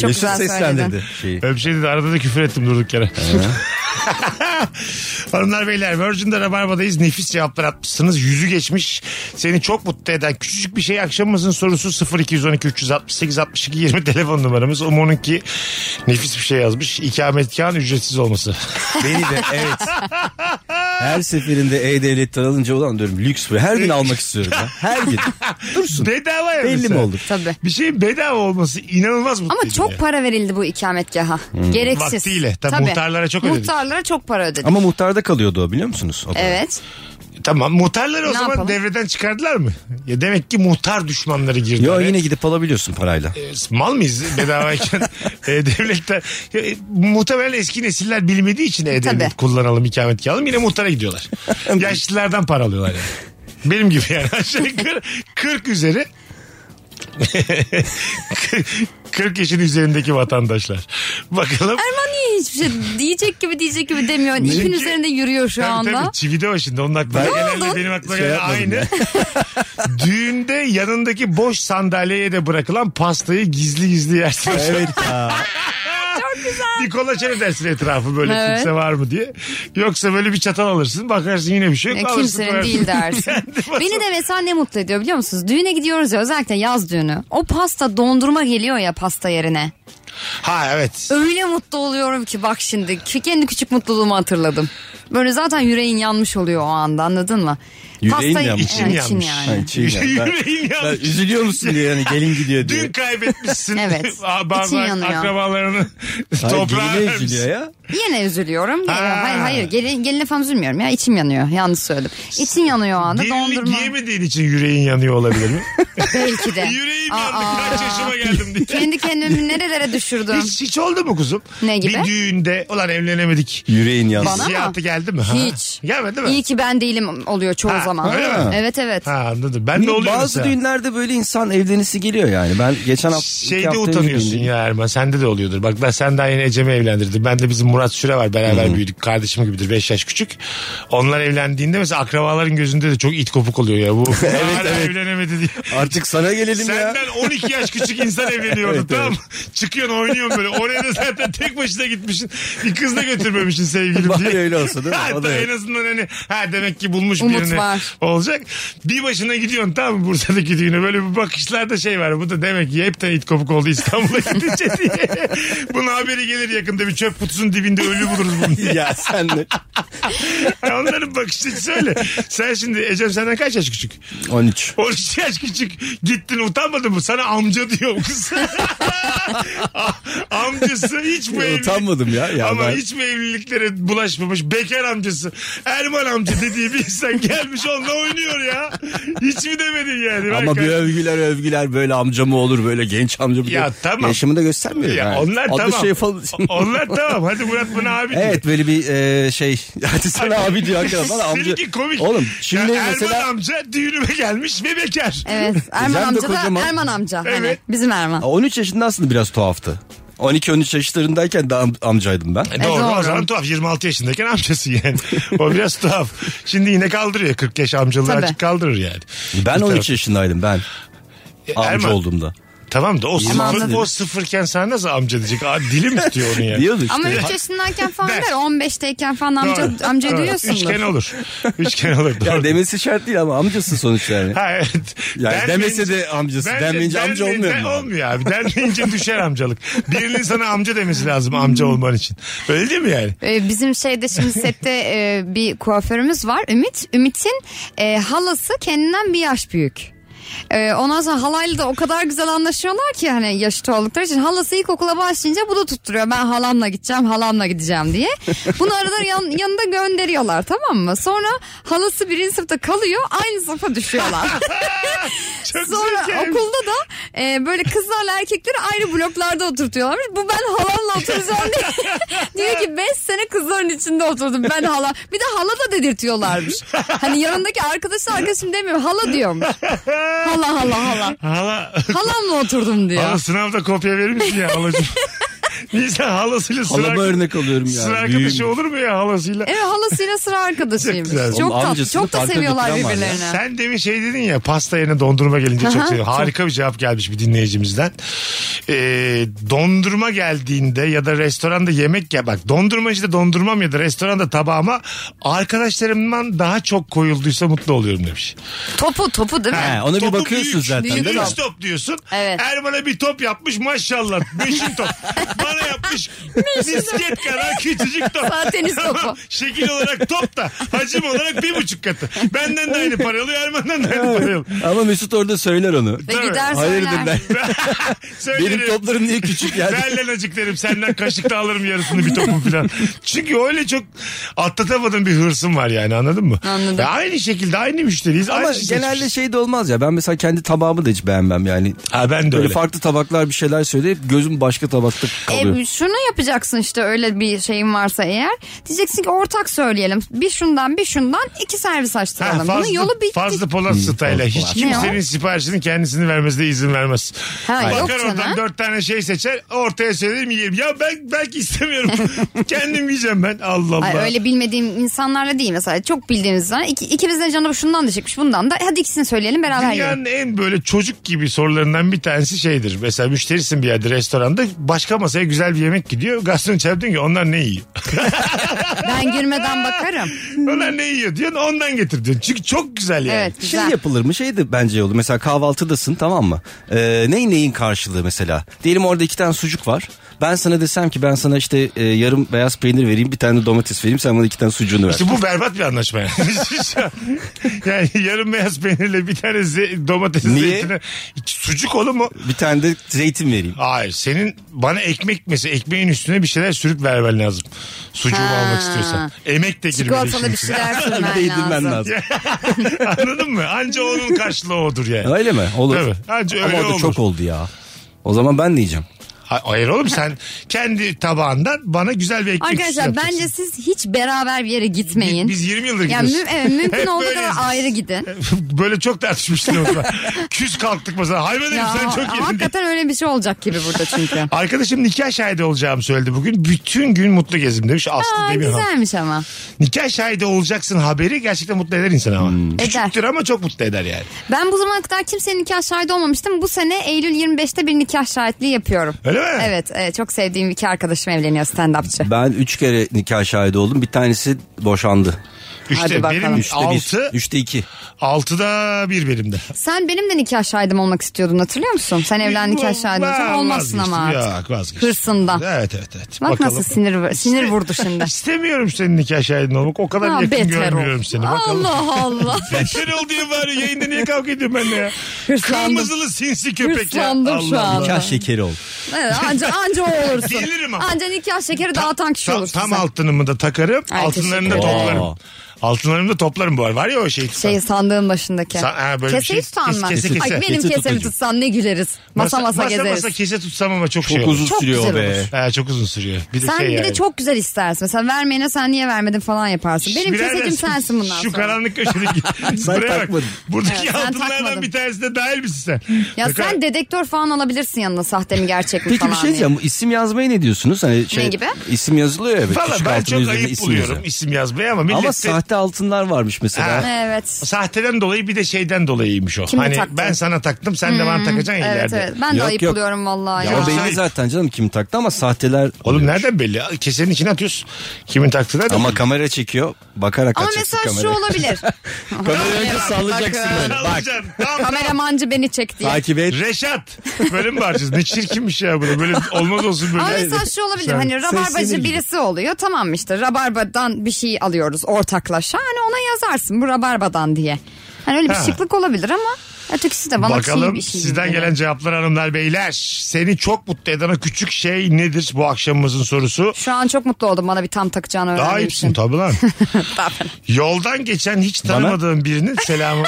Çok güzel söyledin.
[LAUGHS]
Şeyi.
Öyle bir şey dedi. Arada da küfür ettim durduk yere.
Ee?
[LAUGHS] Hanımlar beyler Virgin'de Rabarba'dayız. Nefis cevaplar atmışsınız. Yüzü geçmiş. Seni çok mutlu eden küçücük bir şey akşamımızın sorusu 0212 368 62 20 [LAUGHS] telefon numaramız. Umarım ki nefis bir şey yazmış. İkametgahın ücretsiz olması.
Beni de evet. Her seferinde E-Devlet'ten alınca ulan diyorum lüks bu. Her gün almak istiyorum ya. Her gün. Dursun.
bedava ya
Belli mi
mesela.
olur?
Tabii.
Bir şeyin bedava olması inanılmaz mutlu
Ama
edici
çok
ya.
para verildi bu ikametgaha. Gereksiz.
Hmm. Vaktiyle. Tabii muhtarlara çok ödedik.
Muhtarlara çok para ödedik.
Ama muhtarda kalıyordu o biliyor musunuz? O da.
Evet.
Tamam muhtarları o
Ne
zaman
yapalım?
devreden çıkardılar mı? Ya demek ki muhtar düşmanları girdi.
Yo
araya.
yine gidip alabiliyorsun parayla.
E, mal mıyız bedavayken e, devletler e, muhtemelen eski nesiller bilmediği için e-devlet
Tabii.
kullanalım ikametgahı yine muhtara gidiyorlar. Yaşlılardan para alıyorlar yani. Benim gibi yani [LAUGHS] aşağı yukarı 40 üzeri [LAUGHS] 40 yaşın üzerindeki vatandaşlar. Bakalım.
Erman niye hiçbir şey diyecek gibi diyecek gibi demiyor. İpin
Çünkü-
üzerinde yürüyor şu
Tabii
anda.
tabii çivide o şimdi onun aklına gelenle benim aklıma
Şey
gelen
yapmadım
aynı. [LAUGHS] Düğünde yanındaki boş sandalyeye de bırakılan pastayı gizli gizli yersin.
Evet.
[LAUGHS] bir kolaçan edersin etrafı böyle
Evet.
kimse var mı diye. Yoksa böyle bir çatal alırsın bakarsın yine bir şey yok.
Ya
alırsın,
kimsenin
koyarsın.
değil dersin.
Kendi masana.
Beni de mesela ne mutlu ediyor biliyor musunuz? Düğüne gidiyoruz ya özellikle yaz düğünü. O pasta dondurma geliyor ya pasta yerine.
[LAUGHS] Ha evet.
Öyle mutlu oluyorum ki bak şimdi ki- kendi küçük mutluluğumu hatırladım. Böyle zaten yüreğin yanmış oluyor o anda anladın mı?
Yüreğin yanmış.
İçin
Evet,
yanmış.
Ha,
yani.
içeyim ya.
[LAUGHS]
Ben-
Yüreğin
ben
yanmış.
üzülüyor musun diye yani gelin gidiyor diye.
Dün kaybetmişsin. [LAUGHS]
Evet. İçin
Bazı
yanıyor.
akrabalarını [LAUGHS]
Hayır,
toprağa
geline
vermişsin.
üzülüyor ya.
Yine üzülüyorum. Yine-
Ha.
hayır hayır gelin, geline falan üzülmüyorum ya içim yanıyor yanlış söyledim. İçin yanıyor o anda
Gelinlik
dondurma.
giyemediğin için yüreğin yanıyor olabilir mi?
[LAUGHS] Belki de.
[LAUGHS] Yüreğim
Aa.
yandı kaç yaşıma geldim diye. [LAUGHS]
Kendi kendimi nerelere düşürdüm.
Hiç, hiç oldu mu kuzum?
Ne gibi?
Bir düğünde ulan evlenemedik.
Yüreğin yandı.
Bana mı?
Hissiyatı geldi geldi mi? Ha.
Hiç.
Gelmedi mi?
İyi ki ben değilim oluyor çoğu
Ha,
zaman.
öyle mi?
Evet evet.
Ha anladım. Ben de oluyor
Bazı
mesela.
düğünlerde böyle insan evlenisi geliyor yani. Ben geçen hafta... iki
Şeyde
hafta
utanıyorsun
evlendim.
ya Erman. Sende de oluyordur. Bak ben sen daha yeni Ecem'i evlendirdim. Ben de bizim Murat Süre var. Beraber büyüdük. Kardeşim gibidir. 5 yaş küçük. Onlar evlendiğinde mesela akrabaların gözünde de çok it kopuk oluyor ya. Bu hala evlenemedi diye.
Artık sana gelelim ya.
Senden 12 yaş küçük insan evleniyordu
[LAUGHS] Evet,
tamam mı? Çıkıyorsun oynuyorsun böyle. Oraya da zaten tek başına gitmişsin. Bir kız da götürmemişsin sevgilim
Bari
diye.
öyle olsa değil mi?
Ha,
O da
da en
yok.
azından hani ha demek ki bulmuş
Umut
birini
var.
olacak. Bir başına gidiyorsun tamam mı Bursa'daki düğüne böyle bir bakışlarda şey var. Bu da demek ki hepten it kopuk oldu İstanbul'a [LAUGHS] gidince diye. Bunun haberi gelir yakında bir çöp kutusunun dibinde ölü buluruz
[LAUGHS]
bunu diye.
[LAUGHS] ya sen de.
Ya Onların bakış açısı öyle. Sen şimdi Ecem senden kaç yaş küçük?
13.
13 yaş küçük gittin utanmadın mı? Sana amca diyor bu
[LAUGHS]
kız. A- amcası hiç bu
Ya,
evlilik-
utanmadım ya. ya
Ama
ben-
hiç mi evliliklere bulaşmamış bekar amcası Erman amca dediği bir insan gelmiş onunla oynuyor ya. Hiç mi demedin yani?
Ama
Bak-
bir övgüler övgüler böyle amca mı olur böyle genç amca mı?
Ya
diye.
tamam.
Yaşımı da göstermiyor.
ya
yani.
onlar
Adlı
tamam.
Şey falan.
onlar tamam. Hadi Murat bana abi diyor.
Evet böyle bir e, şey. [LAUGHS] Hadi sana abi diyor hakikaten. Bana amca.
Seninki komik.
Oğlum şimdi
ya Erman
mesela
amca düğünüme gelmiş ve bekar. [LAUGHS]
Evet. Erman
Güzel de
amca da
kocaman.
Erman amca. Hani
Evet.
bizim Erman.
13 yaşında aslında biraz tuhaftı. 12-13 yaşlarındayken de am- amcaydım ben.
E doğru,
doğru.
o zaman tuhaf 26 yaşındayken amcası yani. o biraz tuhaf. Şimdi yine kaldırıyor 40 yaş amcalığı
Tabii.
açık kaldırır yani.
Ben
Bir
13
taraf-
yaşındaydım ben. Amca
E, Erman,
olduğumda.
Tamam da o sıfır,
anladım.
o sıfırken sen nasıl amca diyecek? Aa, dilim istiyor onu yani.
Diyordu işte.
Ama 3 yaşındayken falan
Ben-
der. 15'teyken falan amca, amca duyuyorsundur.
Üçgen olur. Üçgen olur. Doğru.
[LAUGHS] Ya demesi şart değil ama amcası sonuç yani.
Ha, evet.
Yani
Denmeyince-
demese de amcası.
Bence-
denmeyince amca
denmeyince
olmuyor mu? abi?
Olmuyor abi. Denmeyince düşer amcalık. Birinin sana amca demesi lazım amca olman için. Öyle değil mi yani?
Ee, bizim şeyde şimdi sette e, bir kuaförümüz var Ümit. Ümit'in e, halası kendinden bir yaş büyük. Ee, ondan sonra halayla da o kadar güzel anlaşıyorlar ki hani yaşıtı oldukları için halası ilkokula başlayınca bu da tutturuyor ben halamla gideceğim halamla gideceğim diye bunu arada yan- yanında gönderiyorlar tamam mı sonra halası birinci sınıfta kalıyor aynı sınıfa düşüyorlar
Çok
Sonra
zevkli.
okulda da e, böyle kızlarla erkekleri ayrı bloklarda oturtuyorlar. Bu ben halamla oturacağım diye. Diyor ki 5 sene kızların içinde oturdum ben hala. Bir de hala da dedirtiyorlarmış. Hani yanındaki arkadaşı arkadaşım demiyor hala diyormuş. Hala hala hala.
Hala,
Halamla oturdum
hala
diyor.
sınavda kopya verir misin ya
[LAUGHS]
halacığım? Nisan halasıyla sıra,
Halama örnek alıyorum ya.
sıra
Büyüğüm.
arkadaşı olur mu ya halasıyla?
Evet halasıyla sıra arkadaşıymış.
Çok güzel.
Çok
Onun
tatlı.
amcasını
Çok da
farklı
seviyorlar
götüren var ya.
birbirlerini.
Sen demin şey dedin ya pasta yerine dondurma gelince
Aha,
çok seviyorum. Harika bir cevap gelmiş bir dinleyicimizden. Ee, dondurma geldiğinde ya da restoranda yemek ya bak dondurmacıda dondurmam ya da restoranda tabağıma arkadaşlarımdan daha çok koyulduysa mutlu oluyorum demiş.
Topu topu değil mi?
He, ona bir
Topu
bakıyorsun
büyük.
zaten
Büyük
değil mi?
Üç top diyorsun.
Evet.
Erman'a bir top yapmış maşallah. Beşin top. Bana yapmış misket kadar küçücük top.
Sağ tenis topu.
Ama Şekil olarak top da hacim olarak bir buçuk katı. Benden de aynı para alıyor Erman'dan da aynı para alıyor.
Ama Mesut orada söyler onu.
Ve gider
Hayırdır
söyler.
ben.
Söylerim.
Benim toplarım niye küçük yani?
Ver lan acık derim senden kaşıkla alırım yarısını bir topu falan. Çünkü öyle çok atlatamadığım bir hırsım var yani anladın mı?
Anladım.
Ya aynı şekilde aynı müşteriyiz.
Ama
aynı şey
genelde
seçmişiz.
şey de olmaz ya. Ben mesela kendi tabağımı da hiç beğenmem yani.
Ha, ben de
Böyle
öyle.
farklı tabaklar bir şeyler söyleyip gözüm başka tabakta kalıyor.
E, şunu yapacaksın işte öyle bir şeyin varsa eğer. Diyeceksin ki ortak söyleyelim. Bir şundan bir şundan iki servis
Ha,
açtıralım. Bunun yolu bitti.
Fazlı Polat Sıtay'la hiç
Polat.
kimsenin
Ne o?
siparişini kendisini vermesine izin vermez.
Ha, yok
Bakar
canım.
oradan dört tane şey seçer ortaya söylerim yerim. Ya ben belki istemiyorum. [LAUGHS] Kendim yiyeceğim ben. Allah Allah.
Ay, öyle bilmediğim insanlarla değil mesela çok bildiğimizden iki, ikimizin canı şundan da çekmiş bundan da hadi ikisini söyleyelim beraber yiyelim.
Dünyanın en böyle çocuk gibi sorularından bir tanesi şeydir. Mesela müşterisin bir yerde restoranda başka masaya güzel bir yemek gidiyor. Garson çağırıp diyor ki onlar ne yiyor? [LAUGHS]
Ben girmeden bakarım.
onlar ne yiyor diyorsun ondan getir diyorsun. Çünkü çok güzel yani.
Evet
Şey
güzel.
yapılır mı? Şey de bence olur. Mesela kahvaltıdasın tamam mı? Ee, neyin neyin karşılığı mesela? Diyelim orada iki tane sucuk var. Ben sana desem ki ben sana işte e, yarım beyaz peynir vereyim bir tane de domates vereyim sen bana iki tane sucuğunu ver.
İşte bu berbat bir anlaşma yani. [LAUGHS] Şu an- yani yarım beyaz peynirle bir tane ze- domates
Niye?
zeytine sucuk olur mu?
Bir tane de
[LAUGHS]
zeytin vereyim.
Hayır senin bana ekmek mesela ekmeğin üstüne bir şeyler sürüp vermen lazım. Sucuğu
Ha.
almak istiyorsan. Emek de girmeli
Çikolatalı
işin
bir
içine. [LAUGHS]
şeyler
Bir de yedirmen
sürmen lazım.
lazım.
Anladın mı? Anca onun karşılığı odur yani.
Öyle mi? Olur.
Tabii. Bence
Ama
öyle
orada
olur.
çok oldu ya. O zaman ben de yiyeceğim.
Ha- Hayır oğlum sen kendi tabağından bana güzel bir ekmek
Arkadaşlar
yapacaksın.
bence siz hiç beraber bir yere gitmeyin.
Biz 20 yıldır
yani
gidiyoruz.
mü- evet,
[LAUGHS]
mümkün
Hep
olduğu kadar
böyleyiz.
ayrı gidin.
[LAUGHS] Böyle çok tartışmıştık o
[LAUGHS]
zaman. Küs kalktık mesela. Hayvan herif
Ya,
sen çok
ama
yedin. diye.
hakikaten öyle bir şey olacak gibi
[LAUGHS]
burada çünkü.
Arkadaşım nikah şahidi olacağımı söyledi bugün. Bütün gün mutlu gezdim demiş Aslı
Aa,
Demirhan.
güzelmiş ama.
Nikah şahidi olacaksın haberi gerçekten mutlu eder insanı ama. Küçüktür ama çok mutlu eder yani.
Ben bu zamana kadar kimsenin nikah şahidi olmamıştım. Bu sene Eylül 25'te bir nikah şahitliği yapıyorum.
Öyle mi?
Evet, evet, çok sevdiğim iki arkadaşım evleniyor stand-upçı.
Ben üç kere nikah şahidi oldum. Bir tanesi boşandı.
Üçte
Hadi bakalım.
benim
Üçte
altı,
bir, üçte iki.
altıda bir benim de.
Sen benim de nikah şahidim olmak istiyordun hatırlıyor musun? Sen evlen nikah şahidi olsan
Ben
olmazsın ama
vazgeçtim.
artık.
Yok vazgeçtim.
Hırsından.
Evet evet evet.
Bak nasıl sinir sinir
[LAUGHS]
vurdu şimdi.
İstemiyorum senin nikah şahidin olmak. O kadar
Ha,
yakın
beter ol.
görmüyorum seni. Bakalım. [LAUGHS]
Allah Allah.
Beter ol diye bari yayında niye kavga ediyorum ben ya?
Hırslandım.
Kırmızılı sinsi köpek ya.
Hırslandım şu
Allah
an.
Allah.
Nikah şekeri oldu.
Evet, anca, anca o olursun.
Deliririm ama.
Anca nikah şekeri dağıtan kişi
Tam-
olursun
Tam
sen.
altınımı da takarım.
Ay,
altınlarını da
teşekkür ederim.
toplarım.
Aa.
Altınlarımı da toplarım bu arada. Var ya o şey.
Şey sandığın başındaki.
Sa- ha, böyle bir şey-
keseyi tutan mı?
kese- kese-
Ay,
kese.
benim
Kese
kesemi
tutucu.
tutsan ne güleriz. Masa masa, gezeriz.
Masa kese tutsam ama çok,
Çok
şey
uzun
olur.
Çok
sürüyor
güzel
be.
olur.
He, çok uzun sürüyor. Bir de
sen
şey
bir
yani.
de çok güzel istersin. Mesela vermeyene sen niye vermedin falan yaparsın. Benim
Birader,
kesecim sensin bundan
Şu
sonra.
karanlık köşedeki.
[LAUGHS]
Sen
Buraya bak.
takmadın.
Buradaki
Evet, ben
altınlardan
takmadım.
bir tanesine dahil misin sen?
Ya
Ne kadar-
sen dedektör falan alabilirsin yanına sahte mi gerçek mi
Peki
falan.
bir şey
diye.
diyeceğim. Bu isim yazmaya ne diyorsunuz? Hani şey,
gibi?
İsim yazılıyor ya.
Valla
küçük
ben
altının
çok
üzerine
ayıp
isim
buluyorum
yazıyor.
isim yazmayı ama millet
Ama
de-
sahte altınlar varmış mesela.
Ha.
Evet.
sahteden dolayı bir de şeyden dolayıymış o.
Kime
hani
taktın? Hmm,
ben sana taktım sen de bana takacaksın
Evet
ileride.
evet. Ben de
Yok,
ayıp
yok.
buluyorum vallahi.
Ya o
Ya.
belli zaten canım kim taktı ama sahteler
Oğlum
oluyor.
nereden belli? Kesenin içine atıyorsun. Kimin taktığı da
Ama kamera çekiyor. Bakarak
Ama
açacaksın
mesela şu
kamerayı.
olabilir.
[LAUGHS] Kamerayı önce
Bak,
sallayacaksın
bakın.
böyle. Bak.
Alacaksın. Tamam, tamam.
Kameramancı beni çek diye.
Takip et.
Reşat. Böyle mi bağıracağız? Ne çirkinmiş ya bu. Böyle olmaz olsun böyle.
Ama mesela şu olabilir
Sen-
hani rabarbacı
gibi.
birisi oluyor tamam işte rabarbadan bir şey alıyoruz ortaklaşa hani ona yazarsın bu rabarbadan diye. Hani öyle bir
Ha.
şıklık olabilir ama ötekisi de bana çiğ
Bakalım
bir şey
sizden
gibi.
gelen cevaplar hanımlar beyler. Seni çok mutlu eden o küçük şey nedir bu akşamımızın sorusu?
Şu an çok mutlu oldum bana bir tam takacağını
Daha
öğrendiğim
iyisin
için.
tabii [LAUGHS] lan.
Tabii.
Yoldan geçen hiç tanımadığım birinin selamı.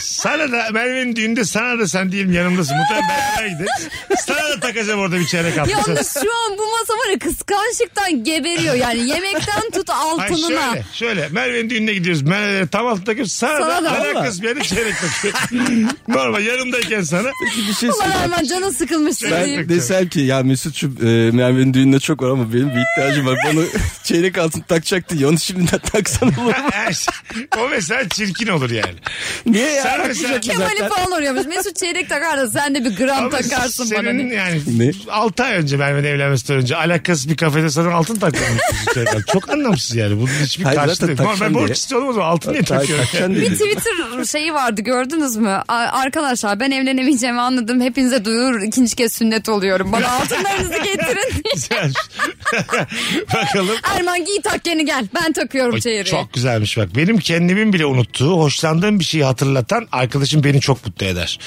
sana da Merve'nin düğünde sana da sen değilim yanımdasın. Mutlaka beraber gideriz. Sana da takacağım orada bir çeyrek altın.
Yalnız şu an bu masa var ya kıskançlıktan geberiyor yani yemekten tut
Ay
altınına.
şöyle, şöyle Merve'nin düğününe gidiyoruz. Merve'lere tam altı takıp sana,
Sana
da
da
ara
valla.
kısmı yani çeyrek [LAUGHS] takıyorum. Normal yanımdayken sana.
Bir şey
Ulan
söyleyeyim.
hemen canın sıkılmıştır
Ben
diyeyim.
desem ki ya Mesut şu e, Merve'nin düğününe çok var ama benim bir ihtiyacım var. Bana [LAUGHS] çeyrek altın takacaktı. ya, Onu
[LAUGHS]
şimdiden taksana olur. mu?
Her şey- o mesela çirkin olur yani.
Niye ya?
Sen mesela-
Takmayacak mı
Kemal'i
zaten?
falan arıyormuş. Mesut çeyrek takar da sen de bir gram
şey Ama
takarsın bana.
senin
diye.
yani
Ne?
6 ay önce Merve'nin evlenmesinden önce alakasız bir kafede sana altın takıyormuşsun. Çok anlamsız yani. Bunun hiçbir
Hayır,
karşılığı
zaten
yok. Normal
takacaksın
borç
diye.
istiyorum o zaman altın niye takıyorum?
Takacaksın
Bir
dedi.
Twitter şeyi vardı gördünüz mü? A- Arkadaşlar ben evlenemeyeceğimi anladım. Hepinize duyur ikinci kez sünnet oluyorum. Bana altınlarınızı
[LAUGHS]
getirin.
Güzel. Bakalım.
Erman giy tak yeni gel. Ben takıyorum
Ay,
çeyreği.
Çok güzelmiş bak. Benim kendimin bile unuttuğu, hoşlandığım bir şeyi hatırlatan arkadaşım beni çok mutlu eder.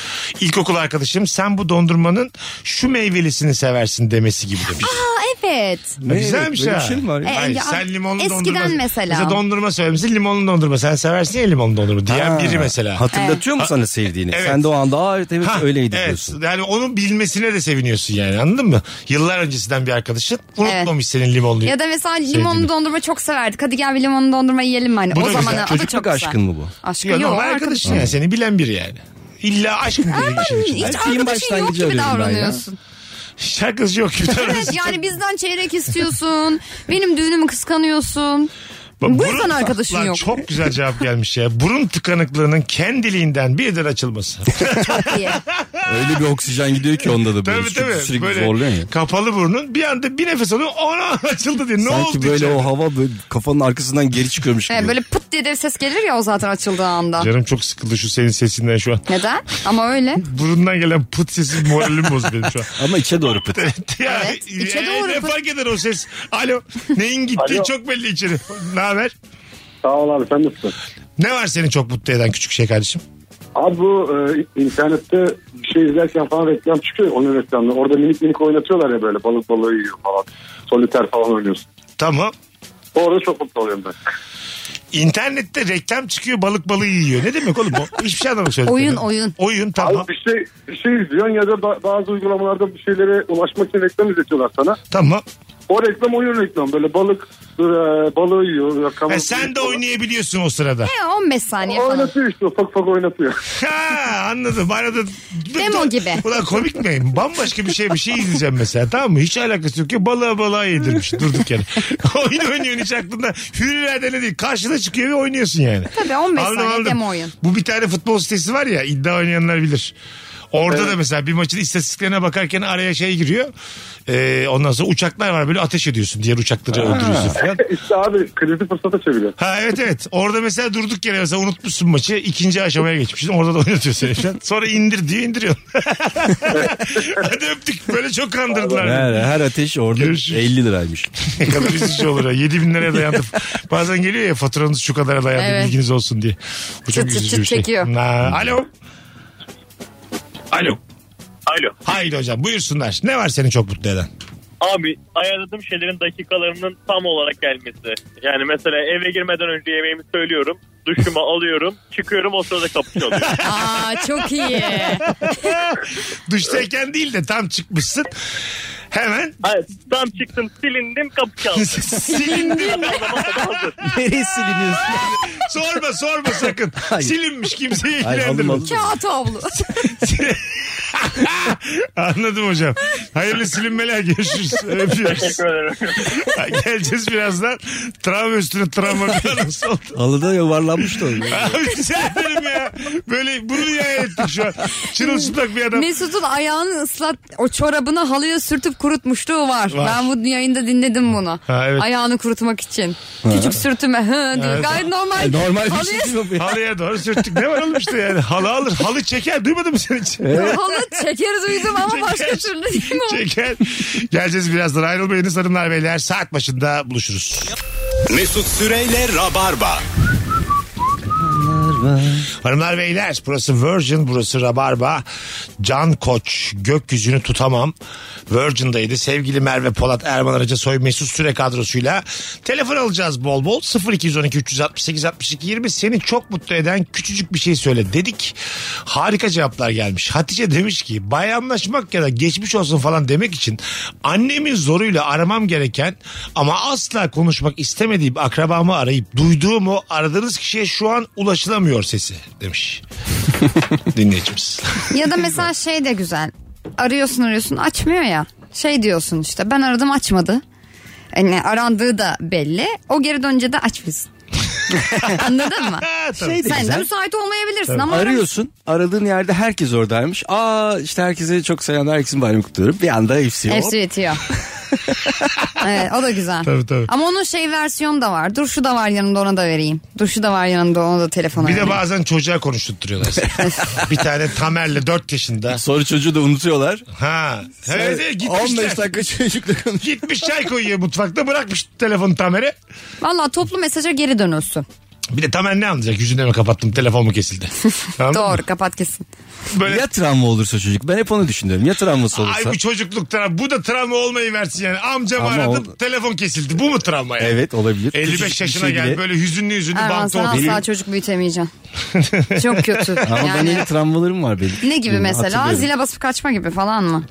İlkokul arkadaşım sen bu dondurmanın şu meyvelisini seversin demesi gibi demiş.
Aa, evet.
Ne,
Güzelmiş
böyle
ha.
bir şey mi var ya?
E,
Hayır,
ya,
sen limonlu
eskiden
dondurma.
mesela.
Mesela dondurma söylemişsin limonlu dondurma. Sen seversin ya limonlu dondurma diyen
Ha,
biri mesela.
Hatırlatıyor mu sana sevdiğini?
Evet.
Sen de o anda aa evet, evet
Ha,
öyleydi
evet.
diyorsun.
Yani onu bilmesine de seviniyorsun yani anladın mı? Yıllar öncesinden bir arkadaşın unutmamış senin limonlu.
Ya da mesela
Sevdiğini.
limonlu dondurma çok severdik. Hadi gel bir limonlu dondurma yiyelim mi? Hani
şey Bu da
o
güzel.
zaman adı çok
Çocukluk
güzel.
aşkın mı bu?
Aşkın
Ya
yok.
normal arkadaşın yani seni bilen biri yani. İlla aşk mı dedi işin içinde?
Hiç arkadaşın
şeyin
yok
başlangıcı
gibi
arıyorum ben ya.
davranıyorsun.
Şakası yok. gibi
[LAUGHS]
Evet yani bizden çeyrek istiyorsun. Benim düğünümü kıskanıyorsun.
Bak,
Bu
burun-
yüzden arkadaşın
Lan
yok.
Çok güzel cevap gelmiş ya. Burun tıkanıklığının kendiliğinden birden
[LAUGHS]
açılması.
diye.
Öyle bir oksijen gidiyor ki onda da böyle.
tabii
Çünkü
tabii.
Sürekli
Böyle
zorluyor ya.
kapalı burnun bir anda bir nefes alıyor ona [LAUGHS] açıldı diye. Ne oldu
Sanki böyle
içeride?
o hava böyle kafanın arkasından geri çıkıyormuş gibi.
He, böyle pıt diye de ses gelir ya o zaten açıldığı anda.
Canım çok sıkıldı şu senin sesinden şu an.
Neden? Ama öyle.
Burundan gelen pıt sesi moralimi bozdu benim
[LAUGHS]
şu an.
Ama içe doğru pıt.
ya,
Evet, içe
e,
doğru
ne
pıt.
fark eder o ses? Alo. Neyin gittiği
Alo.
çok belli içeri. Ne haber?
Sağ ol abi sen nasılsın?
Ne var seni çok mutlu eden küçük şey kardeşim?
Abi bu e, internette bir şey izlerken falan reklam çıkıyor onun reklamları. Orada minik minik oynatıyorlar ya böyle balık balığı yiyor falan. Soliter falan oynuyorsun.
Tamam.
Orada çok mutlu oluyorum ben.
İnternette reklam çıkıyor balık balığı yiyor. Ne demek oğlum bu? Hiçbir şey anlamadım söyledim.
Oyun, oyun.
Oyun tamam.
Abi bir şey, bir şey izliyorsun ya da ba- bazı uygulamalarda bir şeylere ulaşmak için reklam izletiyorlar sana.
Tamam. E,
O reklam oyun reklam böyle balık e, balığı yiyor. rakamı-
Ha, E sen de oynayabiliyorsun o sırada.
E, 15 saniye falan.
Oynatıyor işte ufak ufak [LAUGHS] oynatıyor.
Ha anladım arada.
Demo gibi.
Ulan komik mi? Bambaşka bir şey bir şey izleyeceğim mesela tamam mı? Hiç alakası yok ki balığa balığa yedirmiş durduk yani. [LAUGHS] Oyun oynuyorsun hiç aklında. Hür iradene değil. Karşına çıkıyor ve oynuyorsun yani.
Tabii, 15 saniye demo oyun.
Bu bir tane futbol sitesi var ya iddia oynayanlar bilir. Orada da mesela bir maçın istatistiklerine bakarken araya şey giriyor. Ee, ondan sonra uçaklar var böyle ateş ediyorsun. Diğer uçakları öldürüyorsun falan.
işte abi krizi fırsata çeviriyor.
Ha evet evet. Orada mesela durduk yere mesela unutmuşsun maçı. ikinci aşamaya geçmişsin. Orada da oynatıyor seni falan. Sonra indir diye indiriyorsun. [LAUGHS] Hadi öptük. Böyle çok kandırdılar.
Her, her ateş orada
Görüşürüz.
50 liraymış.
ne kadar üzücü olur ha. 7 bin liraya dayandı. Bazen geliyor ya faturanız şu kadara dayandı
Evet.
bilginiz olsun diye. Bu çok
Çıt çıt
üzücü
çıt
bir şey.
çekiyor.
Na- Alo. Alo.
Alo.
Haydi hocam buyursunlar. Ne var seni çok mutlu eden?
Abi ayarladığım şeylerin dakikalarının tam olarak gelmesi. Yani mesela eve girmeden önce yemeğimi söylüyorum. [LAUGHS] Duşumu alıyorum. Çıkıyorum o sırada kapış [LAUGHS] oluyor.
Aa çok
[LAUGHS]
iyi.
Duştayken değil de tam çıkmışsın. Hemen
Hayır, tam çıktım silindim kapış aldım.
silindi.
Nereye siliniyorsun?
Sorma sorma sakın. Silinmiş kimseyi
Hayır alın
ilgilendirmez.
alın.
Kağıt havlu.
Anladım hocam. Hayırlı silinmeler görüşürüz. Öpüyoruz.
Teşekkür ederim.
Geleceğiz birazdan. Travma üstüne travma bir an
[LAUGHS]
nasıl oldu?
Halıda yuvarlanmış da o.
Abi rica ederim ya. Böyle bunu ya ettik şu an. Çırılçıplak bir adam.
Mesut'un ayağını ıslat o çorabını halıya sürtüp kurutmuşluğu var.
Var.
Ben bu yayında dinledim bunu.
Ha, evet.
Ayağını kurutmak için. Küçük sürtüme. Hı, diyor. Gayet normal.
Normal bir şey
halıya,
değil mi bu ya?
Halıya doğru sürttük. Ne var oğlum işte yani. Halı alır. Halı çeker. Duymadın mı sen hiç?
halı çekeriz uyudum
[LAUGHS]
ama başka
Çeker.
türlü değil mi? o?
Çeker. Geleceğiz birazdan. Ayrılmayınız hanımlar beyler. Saat başında buluşuruz.
Mesut Süreyle Rabarba.
Hanımlar beyler burası Virgin burası Rabarba. Can Koç gökyüzünü tutamam. Virgin'daydı. Sevgili Merve Polat Erman Arıca Soy Mesut Süre kadrosuyla telefon alacağız bol bol. 0212 368 62 20 seni çok mutlu eden küçücük bir şey söyle dedik. Harika cevaplar gelmiş. Hatice demiş ki bayanlaşmak ya da geçmiş olsun falan demek için annemin zoruyla aramam gereken ama asla konuşmak istemediğim akrabamı arayıp duyduğum o aradığınız kişiye şu an ulaşılamıyor sesi demiş. Dinleyicimiz.
Ya da mesela şey de güzel. Arıyorsun arıyorsun açmıyor ya. Şey diyorsun işte ben aradım açmadı. Yani arandığı da belli. O geri dönünce de açmışsın. [LAUGHS] Anladın mı?
Şey de
Sen de
güzel.
müsait olmayabilirsin ama
Arıyorsun. Aradığın yerde herkes oradaymış. Aa işte herkese çok selamlar. Herkesin bayramı kutluyorum. Bir anda hepsi
[LAUGHS]
Hepsi yetiyor. evet o da güzel.
Tabii, tabii.
Ama onun şey versiyonu da var. Dur şu da var yanımda ona da vereyim. Dur şu da var yanımda ona da telefona
Bir de
vereyim.
bazen çocuğa konuşturtuyorlar. seni. bir tane Tamer'le 4 yaşında.
Sonra çocuğu da unutuyorlar.
Ha. Evet, evet, gitmişler.
15 dakika çocukla konuş.
Gitmiş çay koyuyor mutfakta bırakmış telefonu Tamer'e.
Valla toplu mesaja geri dönülsün.
Bir de Tamer ne anlayacak? Yüzüne mi kapattım telefon mu
[LAUGHS]
kesildi? Anladın mı?
Doğru kapat kesin.
Böyle
Ya travma olursa çocuk. Ben hep onu düşünüyorum. Ya travması
Ay
olursa.
bu çocukluk travma. Bu da travma olmayı versin yani. Amcam
Ama
aradı
o-
telefon kesildi. Bu mu travma yani?
Evet olabilir.
55
Küçücük bir
yaşına
şey
gel
bile.
böyle hüzünlü hüzünlü
Erman
bankta
sen
otur.
asla çocuk büyütemeyeceksin. Çok kötü.
Ama
yani.
ben öyle travmalarım var benim.
Ne gibi
Benim
mesela?
hatırlıyorum. E,
Zile basıp kaçma gibi falan mı?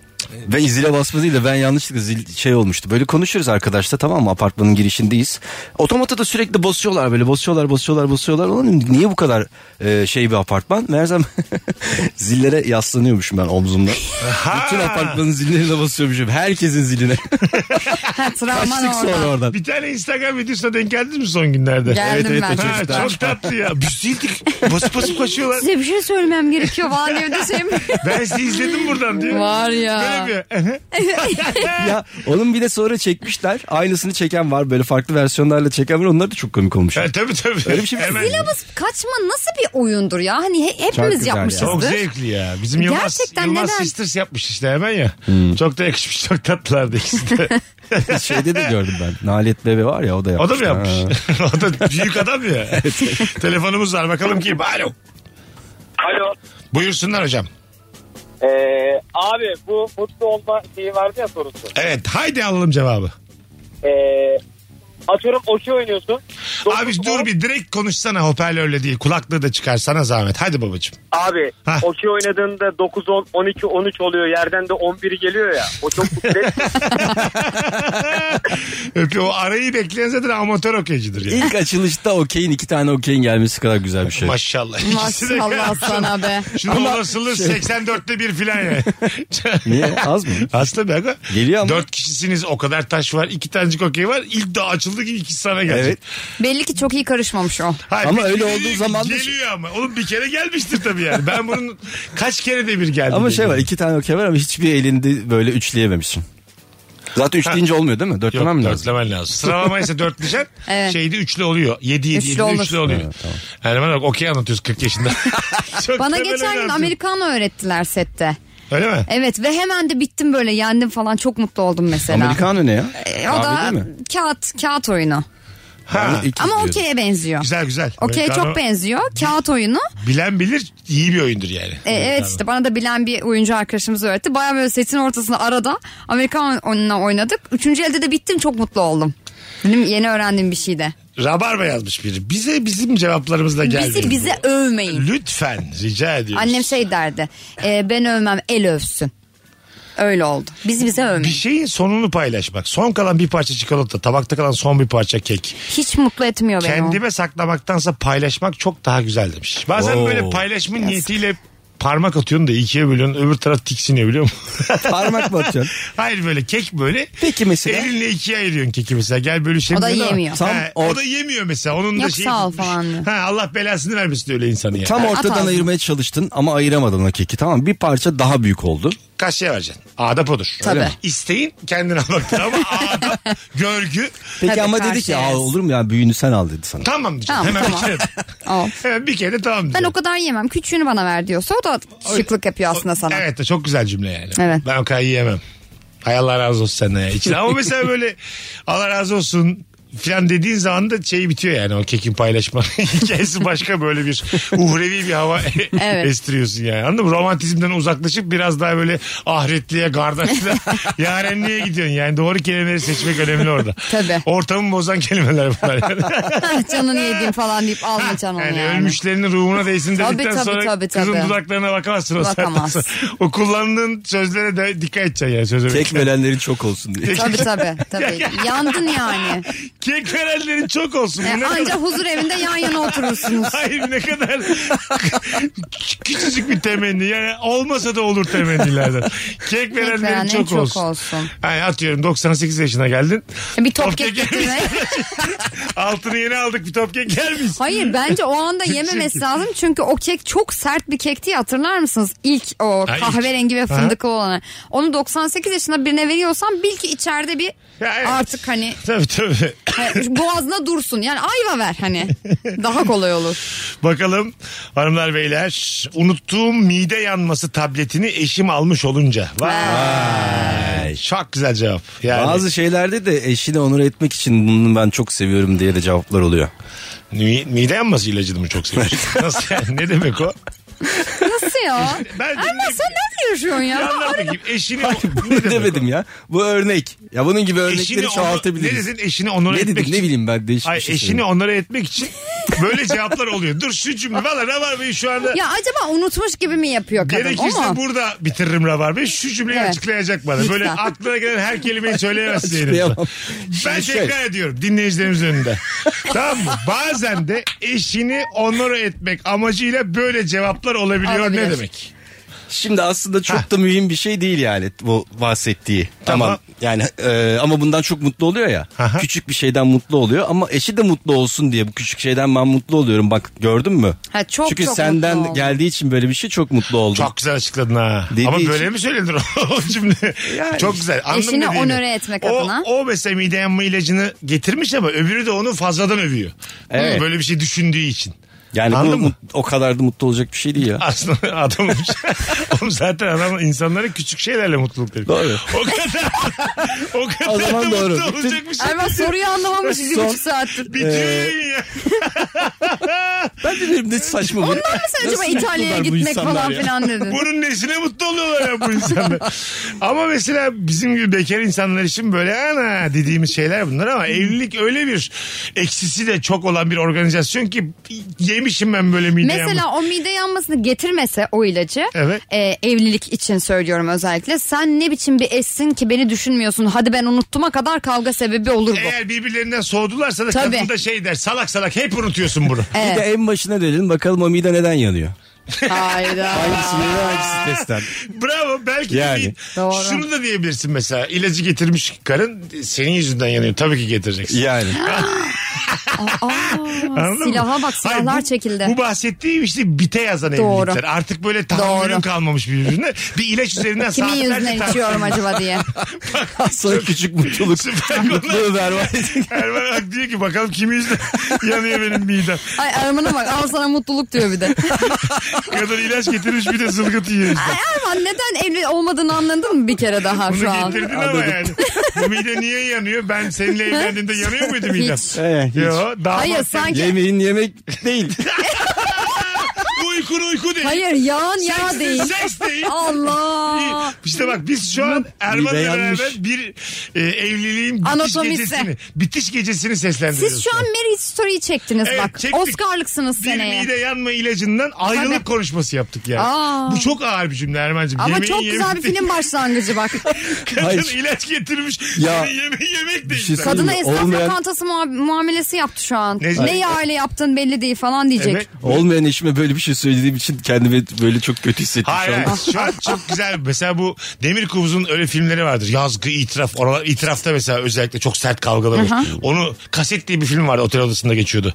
Ben zile basma değil de ben yanlışlıkla zil şey olmuştu. Böyle konuşuyoruz arkadaşla tamam mı apartmanın girişindeyiz. Otomata da sürekli basıyorlar böyle basıyorlar basıyorlar basıyorlar. Ulan niye bu kadar e, şey bir apartman? Meğersem [LAUGHS] zillere yaslanıyormuşum ben omzumla. Bütün apartmanın zillerine basıyormuşum. Herkesin ziline.
Ha,
[LAUGHS]
travman
Kaçtık sonra
orada.
oradan.
Bir tane Instagram videosuna denk geldiniz mi son günlerde?
Geldim Evet, evet, ben. o
Ha,
çocuklar.
çok tatlı ya. Biz değildik. Basıp basıp kaçıyorlar.
Size bir şey söylemem gerekiyor falan evde şey mi?
[LAUGHS] Ben sizi izledim buradan diyor.
[LAUGHS] Var ya.
Böyle bir. [LAUGHS]
Ya onun bir de sonra çekmişler. Aynısını çeken var böyle farklı versiyonlarla çeken var. Onlar da çok komik olmuş.
Ha, tabii tabii.
Öyle bir şey mi?
Hemen.
Zile basıp kaçma nasıl bir oyundur ya? Hani he- hepimiz
güzel ya.
Çok
yapmışızdır.
zevkli ya. Bizim Yılmaz,
Gerçekten
Yılmaz
neden?
Sisters yapmış işte hemen ya.
Hmm.
Çok da yakışmış. Çok tatlılardı ikisi
[LAUGHS]
de.
[LAUGHS] Şeyde de gördüm ben. Nalet Bebe var ya o da
O
yapmış.
da mı yapmış?
Ha.
[LAUGHS] o da büyük adam
[LAUGHS]
ya. Telefonumuz var bakalım kim? Alo.
Alo.
Buyursunlar hocam.
Ee, abi bu mutlu olma şeyi vardı ya sorusu.
Evet haydi alalım cevabı.
Ee, atıyorum okey oynuyorsun.
Abi dur bir direkt konuşsana hoparlörle değil. Kulaklığı da çıkar sana zahmet. Hadi babacığım.
Abi
Hah.
okey oynadığında 9 10 12 13 oluyor. Yerden de 11 geliyor ya. O
[LAUGHS]
çok mutlu.
Öpüyor. O arayı bekleyen zaten amatör okeycidir yani.
İlk açılışta okeyin iki tane okeyin gelmesi kadar güzel bir şey.
Maşallah. İkisi de- [LAUGHS]
Maşallah sana be.
Şunun olasılığı 84'te bir filan yani.
[LAUGHS] Niye?
[LAUGHS]
Az mı?
Aslında be aga.
Geliyor ama.
Dört kişisiniz o kadar taş var. iki tanecik okey var. İlk daha açıldı ki ikisi sana gelecek.
Evet.
Belli ki çok iyi karışmamış o.
Hayır,
Ama
bir-
öyle
bir-
olduğu zaman da-
Geliyor ama. Oğlum bir kere gelmiştir tabii yani. Ben bunun kaç kere de bir geldi.
Ama şey
dedim.
var iki tane okey var ama hiçbir elinde böyle üçleyememişsin. Zaten üçleyince olmuyor değil mi?
Yok
Dörtlemem mi lazım?
dörtlemen lazım. Sıralama ise
[LAUGHS]
dörtleyeceksin.
Evet.
Şeyde üçlü oluyor. Yedi yedi
Üçlü
yedi
olması.
üçlü oluyor. Yani bana bak okey anlatıyoruz 40
[LAUGHS]
yaşında. Çok
Bana
temel
geçen gün
anlatıyorsun.
Amerikan'ı öğrettiler sette.
Öyle mi?
Evet ve hemen de bittim böyle yendim falan çok mutlu oldum mesela.
Amerikano ne ya?
E, o da
Kahve değil mi?
kağıt kağıt oyunu.
Ha.
İki
Ama
diyorum.
okey'e benziyor.
Güzel güzel.
Okey
Americano
çok benziyor. Kağıt oyunu.
Bilen bilir iyi bir oyundur yani.
E, evet işte bana da bilen bir oyuncu arkadaşımız öğretti. Baya böyle setin ortasında arada Amerikan oyununa oynadık. Üçüncü elde de bittim çok mutlu oldum. Benim yeni öğrendiğim bir şey de.
Rabarba yazmış biri. Bize bizim cevaplarımızla geldi.
Bizi bize övmeyin.
Lütfen rica ediyoruz.
Annem şey derdi. e, ben övmem el övsün. Öyle oldu. Bizi bize
bir
övmeyin.
şeyin sonunu paylaşmak. Son kalan bir parça çikolata, tabakta kalan son bir parça kek.
Hiç mutlu etmiyor beni o.
Kendime saklamaktansa paylaşmak çok daha güzel demiş. Bazen
Oo.
böyle paylaşma niyetiyle parmak atıyorsun da ikiye bölüyorsun öbür taraf tiksiniyor biliyor musun?
Parmak mı atacaksın?
[LAUGHS] Hayır böyle kek böyle.
Peki mesela?
Elinle ikiye ayırıyorsun keki mesela. Gel bölüşelim.
O da
diyor ama-
yemiyor.
Tam
Ha,
or-
o da yemiyor mesela. Onun da
Yok,
şeyi
sağ ol
tutmuş.
falan diyor.
Ha, Allah belasını vermesin öyle insanı yani.
Tam
At
ortadan
ağzına.
ayırmaya çalıştın ama ayıramadın o keki tamam mı? Bir parça daha büyük oldu.
Kaç şey vereceksin? Adap odur.
Tabii.
mi? İsteyin kendine baktın
[LAUGHS]
ama adap, görgü.
Peki
Tabii
ama dedi ki
karşıyız.
"Aa, olur mu ya büyüğünü sen al dedi sana.
Tamam mı diyeceksin.
Tamam,
Hemen
tamam.
bir kere.
Al.
Hemen bir kere de tamam
Ben
diyeceksin.
o kadar yemem. Küçüğünü bana ver diyorsa o da şıklık yapıyor aslında sana.
Evet de çok güzel cümle yani.
Evet.
Ben o kadar yiyemem. Hay Allah razı olsun senden ya. İçin. Ama mesela böyle Allah razı olsun filan dediğin zaman da şey bitiyor yani o kekin paylaşma [LAUGHS] hikayesi başka böyle bir uhrevi bir hava [LAUGHS]
Evet.
estiriyorsun yani anladın mı? Romantizmden uzaklaşıp biraz daha böyle ahretliğe, gardaşlığa, yarenliğe gidiyorsun yani doğru kelimeleri seçmek önemli orada.
Tabii.
Ortamı bozan kelimeler bunlar yani.
[LAUGHS] Canını yediğim falan deyip almayacaksın onu
Yani,
yani.
ölmüşlerinin ruhuna değsin
Tabii,
dedikten
tabii,
sonra
tabii,
kızın
tabii.
dudaklarına bakamazsın o saatten
Bakamazsın.
sonra. [LAUGHS] O kullandığın sözlere de dikkat edeceksin yani. Söz
Tek
verirken.
verenlerin çok
[LAUGHS]
olsun diye.
Tabii tabii. tabii. Yandın yani.
Kek verenlerin çok olsun.
E,
Ne
[LAUGHS] anca
kadar-
huzur evinde yan yana oturursunuz.
Hayır ne kadar kü- küçücük bir temenni. Yani olmasa da olur temennilerden. Kek verenlerin
verenlerin
hani çok,
hani çok
olsun.
olsun.
Yani atıyorum 98 yaşına geldin.
[LAUGHS] Bir top
[LAUGHS]
kek getirme.
Altını yeni aldık bir top kek gelmiş.
Hayır bence o anda yememesi lazım. Çünkü o kek çok sert bir kekti ya, hatırlar mısınız? İlk o
Ha, ilk.
kahverengi ve
Ha.
fındıklı olanı. Onu 98 yaşında birine veriyorsan bil ki içeride bir
Ya evet.
artık hani
Tabii tabii.
e, boğazına dursun. Yani ayva ver
[LAUGHS]
hani. Daha kolay olur.
Bakalım hanımlar beyler unuttuğum mide yanması tabletini eşim almış olunca. Vay. Çok güzel cevap. Yani
Bazı şeylerde de eşini onur etmek için bunu ben çok seviyorum diye de
[LAUGHS]
cevaplar oluyor.
mi- mide yanması ilacını mı çok
[LAUGHS]
seviyorsun? Nasıl yani? Ne demek o?
Nasıl ya?
Ben
Ama sen ne diyorsun
Bir
ya?
anlat bakayım. Eşini ne
Ne
demek
demedim
o?
ya. Bu örnek. Ya bunun gibi örnekleri
onu-
çoğaltabiliriz.
Ne dedin? Eşini onur
Ne
etmek
dedim
için.
ne bileyim ben değişik
Ay,
bir şey
eşini
söyledim.
onlara etmek için böyle cevaplar oluyor. Dur şu cümle. Valla Rabarbe'yi şu anda
Ya acaba unutmuş gibi mi yapıyor kadın?
Gerekirse
o mu?
burada bitiririm Rabarbe'yi. Şu cümleyi
Evet.
açıklayacak bana. Böyle
Lütfen.
aklına gelen her kelimeyi söyleyemezsin.
Açıklayamam.
yayınımızda. Ben
Şey Şimdi şey- şöyle.
tekrar ediyorum dinleyicilerimiz
[LAUGHS]
önünde. tamam mı? Bazen de eşini onur etmek amacıyla böyle cevaplar olabiliyor. Ne
Olabilir.
demek?
Şimdi aslında çok da mühim bir şey değil yani bu bahsettiği.
Tamam.
Tamam. Yani e, ama bundan çok mutlu oluyor ya.
Aha.
Küçük bir şeyden mutlu oluyor ama eşi de mutlu olsun diye bu küçük şeyden ben mutlu oluyorum. Bak gördün mü?
Ha, çok
Çünkü
çok mutlu
senden
oldum.
geldiği için böyle bir şey çok mutlu oldum.
Çok güzel açıkladın ha.
Dediği
Ama
için-
böyle mi söylenir [LAUGHS] o cümle? Çok güzel. Anladım
Eşini
dediğini.
onöre etmek
o,
adına.
O mesela mide yanma ilacını getirmiş ama öbürü de onu fazladan övüyor.
Evet.
Böyle bir şey düşündüğü için.
Yani bu
Anladın mı?
mut- o kadar da mutlu olacak bir şey değil ya.
Aslında [LAUGHS] adam
[LAUGHS]
Oğlum zaten adam insanlara küçük şeylerle mutluluk veriyor.
Doğru.
O kadar [LAUGHS] o kadar
O zaman
da
doğru.
mutlu şey.
Bütün-
olacakmış.
Erman soruyu anlamamış iki buçuk saattir.
Bitiyor yayın ya.
Ben de dedim ne saçma bu.
Ondan mı [LAUGHS] sen acaba
Nasıl
İtalya'ya
yapıyorlar bu
gitmek
insanlar
falan
ya?
filan [LAUGHS] dedin?
Bunun nesine mutlu oluyorlar ya bu
[LAUGHS]
insanlar. ama mesela bizim gibi bekar insanlar için böyle ana dediğimiz şeyler bunlar ama evlilik öyle bir eksisi de çok olan bir organizasyon ki yemişim ben böyle mideye.
Mesela o mide yanmasını getirmese o ilacı
Evet.
e, evlilik için söylüyorum özellikle. Sen ne biçim bir eşsin ki beni düşünmüyorsun. Hadi ben unuttuğuma kadar kavga sebebi olur bu.
Eğer birbirlerinden soğudularsa da
Tabii.
kadın da şey der salak salak hep unutuyorsun
[LAUGHS]
bunu.
Bir de en başına dönelim bakalım o mide neden yanıyor.
Hayda.
Hangisi mide hangisi testten.
Bravo belki de
Yani.
değil.
Doğru.
Şunu da diyebilirsin mesela ilacı getirmiş karın senin yüzünden yanıyor tabii ki getireceksin. [LAUGHS]
Yani.
Aa,
Anladın mı?
silaha bak
Hayır,
silahlar
bu,
çekildi.
Bu bahsettiğim işte bite yazan
Doğru.
evlilikler. Artık böyle tahammülün
Doğru.
kalmamış birbirine. Bir ilaç üzerinden
Kimin
saatlerce
yüzünden
tartışıyorlar.
içiyorum acaba diye.
Aslında küçük
[LAUGHS]
mutluluk.
Süper
Mutluluğu
konular. [LAUGHS]
berbat edin.
Erman Ak diyor ki bakalım kimin yüzünden [LAUGHS] yanıyor benim midem.
Ay Erman'a bak al sana mutluluk
[LAUGHS]
diyor bir de.
Kadın ilaç getirmiş bir de zılgıt yiyor işte.
Ay Erman neden evli olmadığını anladın mı bir kere daha şu
Bunu
an?
getirdin ama yani. Bu mide niye yanıyor? Ben seninle evlendiğimde yanıyor muydu midem?
Hiç.
Ee, hiç.
Yo, damat.
Hayır sanki
Yemeğin
[LAUGHS]
yemek değil.
Uykun uyku değil.
hayır yağın
Seks
yağ
de-
değil.
Seks değil.
Allah.
İşte bak biz şu an Erman'la
Mide yanmış.
beraber bir e, evliliğin bitiş
Anatomisi.
gecesini, bitiş gecesini seslendiriyoruz.
Siz şu an Mary Story'yi çektiniz
Evet,
bak.
çektik.
Oscar'lıksınız
bir
seneye.
mide yanma ilacından ayrılık
Tabii.
konuşması yaptık yani.
Aa.
Bu çok ağır bir cümle Erman'cığım.
Ama
Yemeğin
çok güzel bir
yemek değil.
film başlangıcı bak.
[LAUGHS] Kadın
Hayır.
ilaç getirmiş.
Ya.
[LAUGHS] Yemeği yemek değil.
şey
Sen-
Kadına esnaf
Olmayan-
lokantası muha- muamelesi yaptı şu an.
Ne-
Ne,
Ay-
yağıyla yaptın belli değil falan diyecek.
Evet.
Olmayan eşime böyle bir şey söylediğim için kendimi böyle çok kötü hissettim
Hayır
şu an.
hayır. şu an çok güzel. Mesela bu Demir Kubuz'un öyle filmleri vardır. Yazgı, itiraf. Oralar, itirafta mesela özellikle çok sert kavgalar olur. Onu kaset diye bir film vardı. Otel odasında geçiyordu.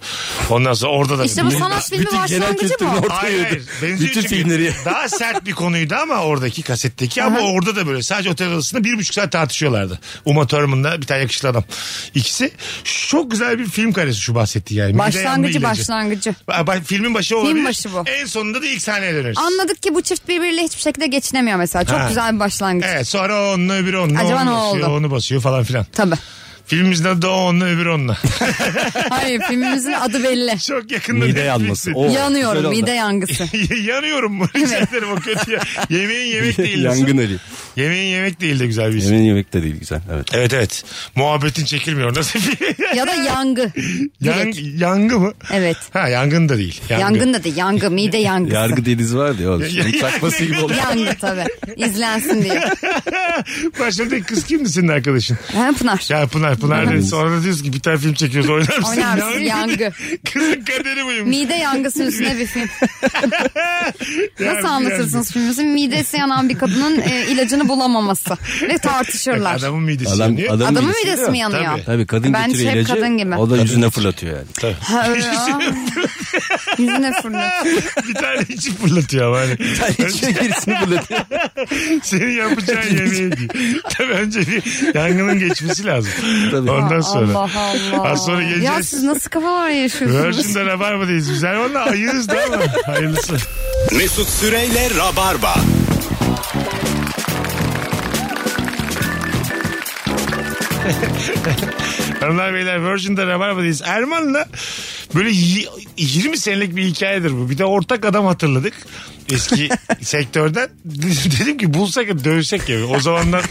Ondan sonra orada da.
İşte bu sanat filmi
Bütün genel
başlangıcı
kültürün
bu.
ortaya
Hayır,
yedi.
hayır. Benziyor
Bütün
çünkü.
filmleri.
Daha sert bir konuydu ama oradaki kasetteki ama orada da böyle sadece otel odasında bir buçuk saat tartışıyorlardı. Uma Thurman'la bir tane yakışıklı adam. İkisi çok güzel bir film karesi şu bahsettiği yani. Bir de yanma
Başlangıcı
ilacı.
başlangıcı.
Ba- ba- Filmin başı olabilir.
başı bu.
En sonunda da ilk sahneye döneriz.
Anladık ki bu çift birbiriyle hiçbir şekilde geçinemiyor mesela. Çok
Ha.
güzel bir başlangıç.
Evet sonra o onunla öbürü onunla.
Acaba
onu
ne
basıyor,
oldu?
Onu basıyor falan filan.
Tabii.
Filmimizin adı da o onunla öbürü
[LAUGHS]
onunla.
Hayır filmimizin adı belli.
Çok yakında.
Mide
Netflix'te.
yanması. O, güzel
Yanıyorum
oldu.
mide yangısı.
[LAUGHS] Yanıyorum [LAUGHS] mu? Rica ederim o kötü. ya. Yemeğin yemek değil. nasıl?
[LAUGHS] Yangın arıyor.
Yemeğin yemek değil de güzel bir isim.
Yemeğin yemek de değil güzel. Evet.
Evet evet. Muhabbetin çekilmiyor. Nasıl bir...
[LAUGHS] Ya da yangı.
Yang, [LAUGHS]
Direkt.
yangı mı?
Evet.
Ha yangın da değil.
Yangın da değil
[LAUGHS]
yangı mide yangısı.
Yargı deniz var ya oğlum.
Ya-
Şimdi takması gibi olur.
Yangı tabii. İzlensin diye.
Başladaki kız kimdi senin arkadaşın?
Ha, Pınar.
Ya Pınar Pınar dedi. Sonra da diyoruz ki bir tane film çekiyoruz oynar mısın?
Oynar mısın? Yangı.
[LAUGHS] Kızın kaderi buymuş.
Mide yangısı üstüne bir
[LAUGHS]
film. Nasıl anlatırsınız filmimizin? Midesi yanan bir kadının e, ilacını bulamaması. Ve tartışırlar.
Adamın midesi
Adam-
yanıyor.
adam-
Adamın
midesi
midesi mi yanıyor?
Tabii.
Tabii kadın
Ben
getiriyor
hep
ilacı.
kadın gibi.
O da yüzüne fırlatıyor yani.
Ha, öyle,
[LAUGHS]
aa. Yüzüne fırlat.
[LAUGHS] bir tane içi fırlatıyor ama hani.
[LAUGHS] İçine gerisini fırlatıyor.
Senin yapacağın yemeği diyor. Tabii önce bir yangının geçmesi lazım.
Tabii.
Ondan sonra.
Allah Allah.
Az sonra geleceğiz.
Ya siz nasıl kafalar yaşıyorsunuz?
Virgin'de Rabarba'dayız biz. Erman'la ayığız da ama hayırlısı.
Mesut Süreyle Rabarba.
Hanımlar beyler Virgin'de Rabarba'dayız. Erman'la böyle y- 20 senelik bir hikayedir bu. Bir de ortak adam hatırladık.
[LAUGHS]
Eski sektörden. Dedim ki bulsak ya, dövsek ya. O
[LAUGHS]
zamandan.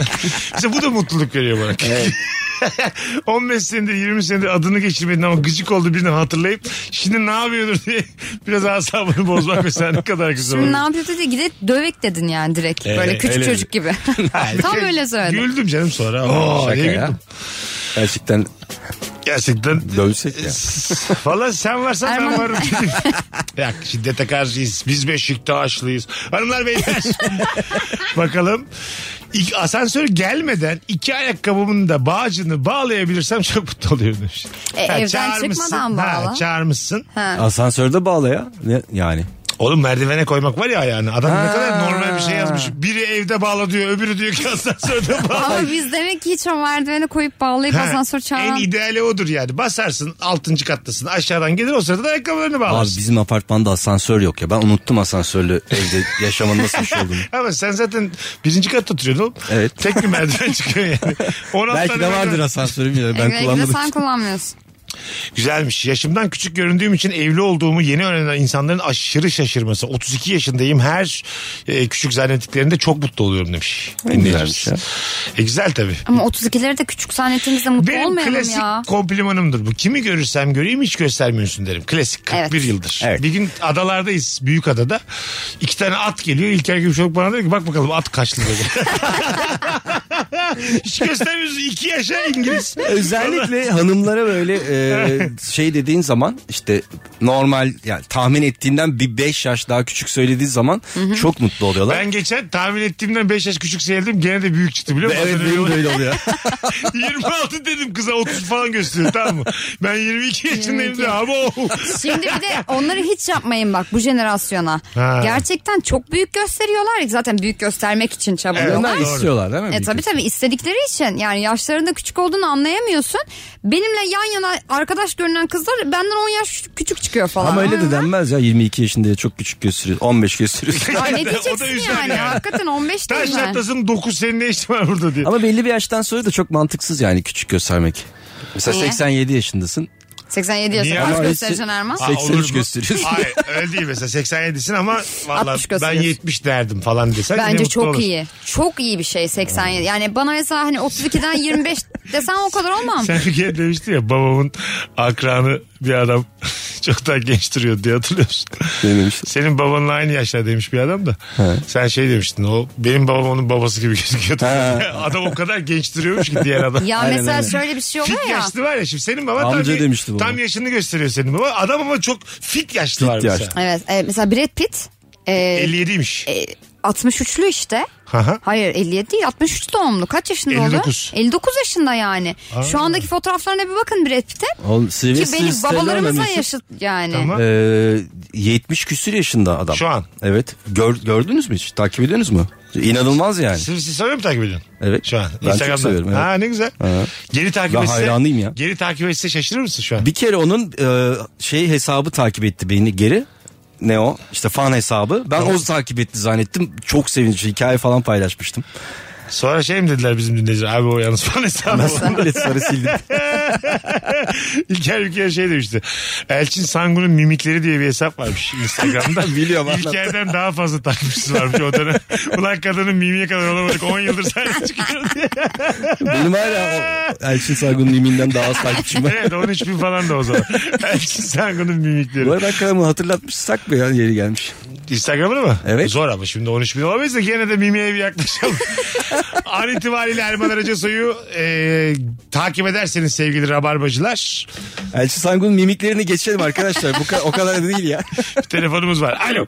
işte bu da mutluluk veriyor bana. [LAUGHS] 15 senedir 20 senedir adını geçirmedin ama gıcık oldu birini hatırlayıp şimdi ne yapıyordur diye biraz asabını bozmak mesela ne kadar güzel
Şimdi
olur.
ne yapıyor dedi gidip dövek dedin yani direkt.
Ee,
Evet,
Böyle küçük
öyle
çocuk gibi.
[LAUGHS]
Tam öyle söyledim.
Şey, Güldüm canım sonra. Oo,
Şaka
diye
ya.
güldüm.
Gerçekten
Gerçekten [LAUGHS]
dövsek ya.
Valla sen varsan ben
Erman-
varım. [LAUGHS] ya şiddete karşıyız. Biz Beşiktaşlıyız. Hanımlar beyler. [LAUGHS] Bakalım. İlk asansör gelmeden iki ayakkabımın da bağcını bağlayabilirsem çok mutlu oluyorum demiş.
E, evden
çağırmışsın.
çıkmadan bağla.
Ha, çağırmışsın.
Asansörde bağla ya. Ne, yani.
Oğlum merdivene koymak var ya ayağını. Adam ne
Ha.
kadar normal bir şey yazmış. Biri evde bağla diyor öbürü diyor ki
[LAUGHS]
asansörde bağla.
Ama biz demek ki hiç o merdiveni koyup bağlayıp
Ha,
asansör
En
çağıran
ideali odur yani. Basarsın altıncı kattasın aşağıdan gelir o sırada da ayakkabılarını
Abi
bağlarsın.
bizim apartmanda asansör yok ya. Ben unuttum asansörlü evde yaşamanın nasıl bir şey olduğunu.
Ama sen zaten birinci katta oturuyordun oğlum.
Evet. [LAUGHS]
Tek bir merdiven çıkıyor yani. 16
Belki
tane
de
merdiven-
vardır asansörüm ya. Ben
Belki de
[LAUGHS] kullanmadım.
sen kullanmıyorsun.
Güzelmiş. Yaşımdan küçük göründüğüm için evli olduğumu yeni öğrenen insanların aşırı şaşırması. 32 yaşındayım. Her e, küçük zannettiklerinde çok mutlu oluyorum demiş.
Ne
Dinleyicimiz.
güzelmiş ya.
E, güzel tabii.
Ama 32'leri de küçük zannettiğimizde mutlu
Benim
olmayalım
klasik [LAUGHS]
ya.
komplimanımdır bu. Kimi görürsem göreyim hiç göstermiyorsun derim. Klasik 41
Evet.
yıldır. Bir gün adalardayız büyük adada. İki tane at geliyor. İlker Gümüşoluk bana diyor ki bak bakalım at kaçlı dedi. [LAUGHS] hiç göstermiyorsun. iki yaşa İngiliz.
Özellikle hanımlara böyle
[LAUGHS]
e, şey dediğin zaman işte normal yani tahmin ettiğinden bir 5 yaş daha küçük söylediği zaman çok mutlu oluyorlar.
Ben geçen tahmin ettiğimden 5 yaş küçük seyirdim. Gene de büyük çıktı biliyor musun? [LAUGHS]
Evet
Öyle
benim de
oluyor.
öyle oluyor.
26 dedim kıza 30 falan gösteriyor tamam mı? Ben 22 yaşındayım de ama o.
Şimdi bir de onları hiç yapmayın bak bu jenerasyona.
Ha.
Gerçekten çok büyük gösteriyorlar. ya. Zaten büyük göstermek için çabalıyorlar.
Onlar istiyorlar değil mi?
E tabii tabii istedikleri için yani yaşlarında küçük olduğunu anlayamıyorsun. Benimle yan yana arkadaş görünen kızlar benden 10 yaş küçük çıkıyor falan.
Ama öyle de denmez ya 22 yaşında ya çok küçük gösteriyor
[LAUGHS]
15 gösteriyor.
Ay
O
ne
da
diyeceksin
üzer
yani?
yani.
Hakikaten 15 değil
Taş
mi?
atlasın 9 senin ne işin var burada diye.
Ama belli bir yaştan sonra da çok mantıksız yani küçük göstermek. Mesela
Niye?
87 yaşındasın.
87 yaşında
Niye?
kaç
Ama
göstereceksin
işte-
Erman?
Aa, 83
olur mu?
gösteriyorsun.
Hayır öyle değil mesela 87'sin ama valla
60
ben
gösteriyorsun.
70 derdim falan desen. yine
Bence
mutlu
çok
olursun.
iyi. Çok iyi bir şey 87. Yani bana mesela hani 32'den 25 desen o kadar olmam.
Sen bir kere demiştin ya babamın akranı bir adam [LAUGHS] çok daha genç duruyor diye hatırlıyor musun?
Dememiştim.
Senin babanla aynı yaşta demiş bir adam da. Sen şey demiştin o benim babam onun babası gibi gözüküyordu.
He.
[LAUGHS] adam o kadar genç duruyormuş ki diğer adam.
[LAUGHS] Ya
Aynen,
mesela
aynen.
şöyle bir şey oluyor
Fit
ya.
yaşlı var ya şimdi senin baban
Amca
tam,
demişti baba.
tam yaşını gösteriyor senin baba. Adam ama çok fit yaşlı var mesela.
yaşlı.
Evet, evet mesela Brad Pitt e,
57'ymiş.
e, 63'lü işte.
Haha.
Hayır 57 değil 63 doğumlu. Kaç yaşında
59.
oldu? 59 yaşında yani. Şu andaki fotoğraflarına bir bakın Brad Pitt'e.
Oğlum, Sylvester
Ki benim
Stallone
babalarımızla
demiştim.
yaşıt yani.
Tamam.
Ee, 70 küsür yaşında adam.
Şu an.
Evet. Gör- gördünüz mü hiç? Takip ediyorsunuz mu? İnanılmaz yani.
Siz, siz soruyor mu takip ediyorsun?
Evet.
Şu an.
Ben çok
Instagram'dan.
seviyorum, evet.
Ha ne güzel. Geri takip
Ben
etse.
hayranıyım ya.
Geri takip etse şaşırır mısın şu an?
Bir kere onun e, şey hesabı takip etti beni geri. Ne o? İşte fan hesabı. Ben o takip etti zannettim. Çok sevinçli. Hikaye falan paylaşmıştım.
Sonra şey mi dediler bizim dinleyiciler? Abi o yalnız falan hesabı.
Nasıl [LAUGHS] böyle sarı sildim.
[LAUGHS] İlker bir kere şey demişti. Elçin Sangun'un mimikleri diye bir hesap varmış Instagram'da.
[LAUGHS] Biliyorum, anlattı.
İlker'den daha fazla takipçisi varmış o
[LAUGHS]
dönem. Ulan kadının mimiye kadar olamadık. 10 yıldır sadece çıkıyor diye.
Benim hala o Elçin Sargun'un iminden daha az takipçim var.
Evet 13 bin falan da o
[LAUGHS]
zaman. Elçin Sangun'un mimikleri.
Bu arada hakikaten bunu hatırlatmışsak mı ya yeri gelmiş.
Instagram'ını mı? E,
Evet.
Zor ama şimdi 13 bin olamayız da gene de mimiye bir yaklaşalım. An itibariyle Erman Aracı Soy'u e, takip ederseniz sevgili rabarbacılar.
Elçin Sargun'un mimiklerini geçelim arkadaşlar. Bu ka- o kadar da değil ya.
Bir telefonumuz var. Alo.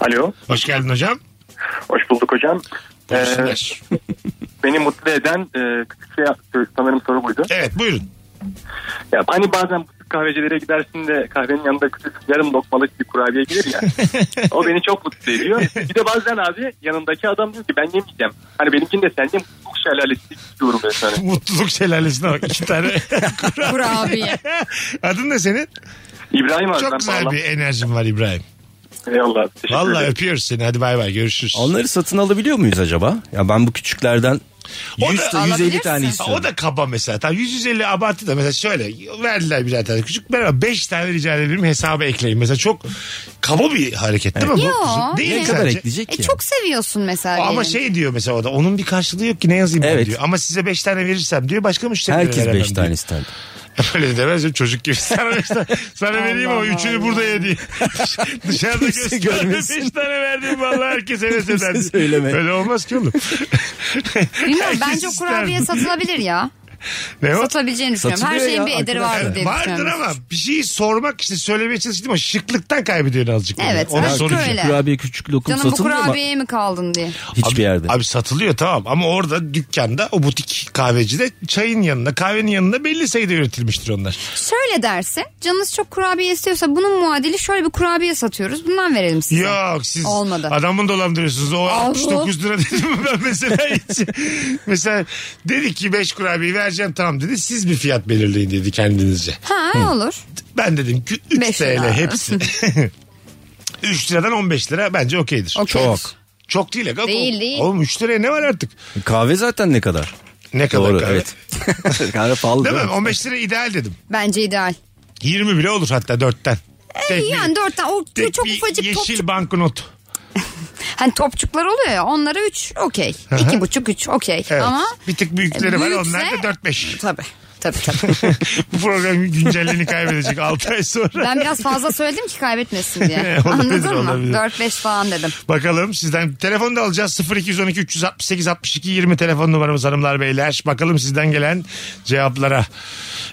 Alo.
Hoş geldin hocam.
Hoş bulduk hocam. Ee,
Buyursunlar.
beni mutlu eden e, küçük şey sanırım soru buydu.
Evet buyurun.
Ya, hani bazen butik kahvecelere gidersin de kahvenin yanında küçük yarım lokmalık bir kurabiye gelir
[LAUGHS]
ya. o beni çok mutlu ediyor. Bir de bazen abi yanındaki adam diyor ki ben yemeyeceğim. Hani benimkini de sen ye mutluluk şelalesi istiyorum ben sana.
Mutluluk şelalesine bak. iki tane. [LAUGHS]
Kurabiye.
Adın ne senin?
İbrahim abi
Çok
ben
güzel
bağlam-
bir enerjim var İbrahim.
Eyvallah. Teşekkür
Vallahi
ederim.
öpüyoruz seni. Hadi bay bay görüşürüz.
Onları satın alabiliyor muyuz acaba? Ya ben bu küçüklerden
O
100,
da
150
alabilirsin.
tane
Ha,
istiyorum.
o da kaba mesela. Tam 150 abartı da mesela şöyle verdiler birer tane küçük. Merhaba 5 tane rica edebilirim hesaba ekleyin. Mesela çok kaba bir hareket değil mi? bu?
Yo,
Değil
ne
ne kadar
sence?
ekleyecek ki?
E çok seviyorsun mesela.
Ama
diyelim.
şey diyor mesela o da onun bir karşılığı yok ki ne yazayım ben
Evet.
diyor. Ama size 5 tane verirsem diyor başka müşterilere
Herkes
veremem
5
diyor.
tane isterdi.
[LAUGHS] Öyle demez çocuk gibi. Sana, beş
[LAUGHS]
tane- sana vereyim ama üçünü burada ye
[LAUGHS]
diye. Dışarıda
Kimse
gösterdi
görmesin.
beş tane verdim vallahi herkes heves eder. diye.
söyleme.
Öyle olmaz ki oğlum.
Bilmiyorum
[LAUGHS] Herkes
bence o
ister.
kurabiye satılabilir ya.
Ne o?
Satılabileceğini düşünüyorum. Her
Satılıyor
şeyin
ya,
bir ederi
arkadaşlar.
vardır diye
Vardır
düşünüyorum.
ama bir şeyi sormak işte söylemeye çalıştım ama şıklıktan kaybediyorsun azıcık.
Evet,
Onun
aşk
sonucu.
öyle.
Kurabiye küçük lokum
Canım bu
satılmıyor ama
kurabiyeye mi kaldın diye.
hiçbir yerde.
Abi satılıyor tamam ama orada dükkanda o butik kahvecide çayın yanında kahvenin yanında belli sayıda üretilmiştir onlar.
Şöyle derse canınız çok kurabiye istiyorsa bunun muadili şöyle bir kurabiye satıyoruz. Bundan verelim size.
Yok siz
Olmadı.
adamın dolandırıyorsunuz. O 69 lira dedim mi ben mesela hiç.
[LAUGHS]
mesela dedik ki 5 kurabiye vereceğim tamam dedi. Siz bir fiyat belirleyin dedi kendinizce.
Ha olur.
Ben dedim ki 3
Beş
TL
lira. [LAUGHS]
hepsi. 3 liradan 15 lira bence okeydir.
Okey.
Çok.
Çok değil. ya.
Değil, değil.
Oğlum 3 liraya ne var artık?
Kahve zaten ne kadar?
Ne kadar
Doğru
kahve?
evet. [LAUGHS] kahve pahalı
Değil
değil,
mi?
mi?
15 lira ideal dedim.
Bence ideal.
20 bile olur hatta 4'ten. Tek bir-
Ee, Yani dörtten o
tek
çok
bir
ufacık top,
yeşil banknot.
hani topçuklar oluyor ya onlara üç okey.
Aha.
İki buçuk üç okey.
Evet.
Ama e,
bir tık büyükleri var
Büyükse-
onlar da 4-5.
tabii tabii
[LAUGHS]
tabii.
Bu program güncelliğini kaybedecek 6 ay sonra.
ben biraz fazla söyledim ki kaybetmesin diye.
[LAUGHS] Olabilir,
Anladın
olabilir.
mı? Dört beş falan dedim.
Bakalım sizden telefon da alacağız 0212 368 62 20 telefon numaramız hanımlar beyler. Bakalım sizden gelen cevaplara.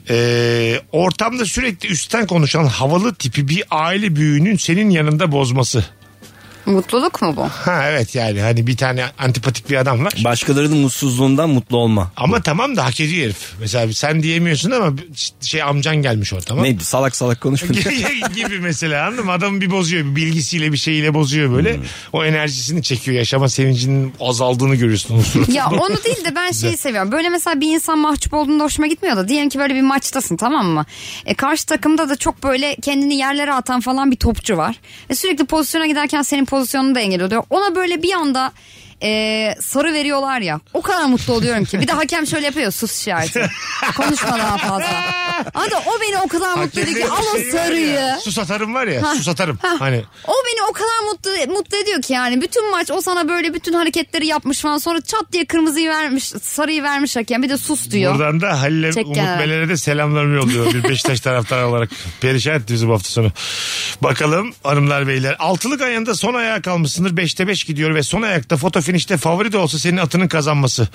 Ee, ortamda sürekli üstten konuşan havalı tipi bir aile büyüğünün senin yanında bozması.
Mutluluk mu bu?
Ha evet yani hani bir tane antipatik bir adam var.
Başkalarının mutsuzluğundan mutlu olma.
Ama tamam da hak ediyor herif. Mesela sen diyemiyorsun ama şey amcan gelmiş ortama.
Neydi salak salak konuşma.
[LAUGHS] gibi mesela anladın mı? Adamı bir bozuyor. Bir bilgisiyle bir şeyle bozuyor böyle. O enerjisini çekiyor. Yaşama sevincinin azaldığını görüyorsun. o suratında. [LAUGHS]
Ya onu değil de ben şeyi seviyorum. Böyle mesela bir insan mahcup olduğunda hoşuma gitmiyor da diyelim ki böyle bir maçtasın tamam mı? E, karşı takımda da çok böyle kendini yerlere atan falan bir topçu var. E, sürekli pozisyona giderken senin pozisyonunu da engel oluyor. Ona böyle bir anda e, sarı veriyorlar ya. O kadar mutlu oluyorum ki. Bir de hakem şöyle yapıyor sus
[LAUGHS]
işareti. Konuşma daha fazla. Hadi o beni o kadar mutlu ediyor ki
Hakemlerin şeyi
al o
"Şey var
sarıyı.
ya, Sus atarım var ya.
şey Ha,
Sus atarım.
ha.
Hani
[LAUGHS] O beni o kadar mutlu mutlu ediyor ki yani bütün maç o sana böyle bütün hareketleri yapmış falan sonra çat diye kırmızıyı vermiş sarıyı vermiş hakem bir de sus diyor.
buradan da Halil'e
Çek
Umut
kenara.
Beler'e de selamlarımı yolluyor. Bir Beşiktaş taraftarı olarak. Perişan etti bizi bu hafta sonu. Bakalım hanımlar beyler. Altılık ayında son ayağa kalmışsındır. Beşte beş gidiyor ve son ayakta foto finişte favori de olsa senin atının kazanması.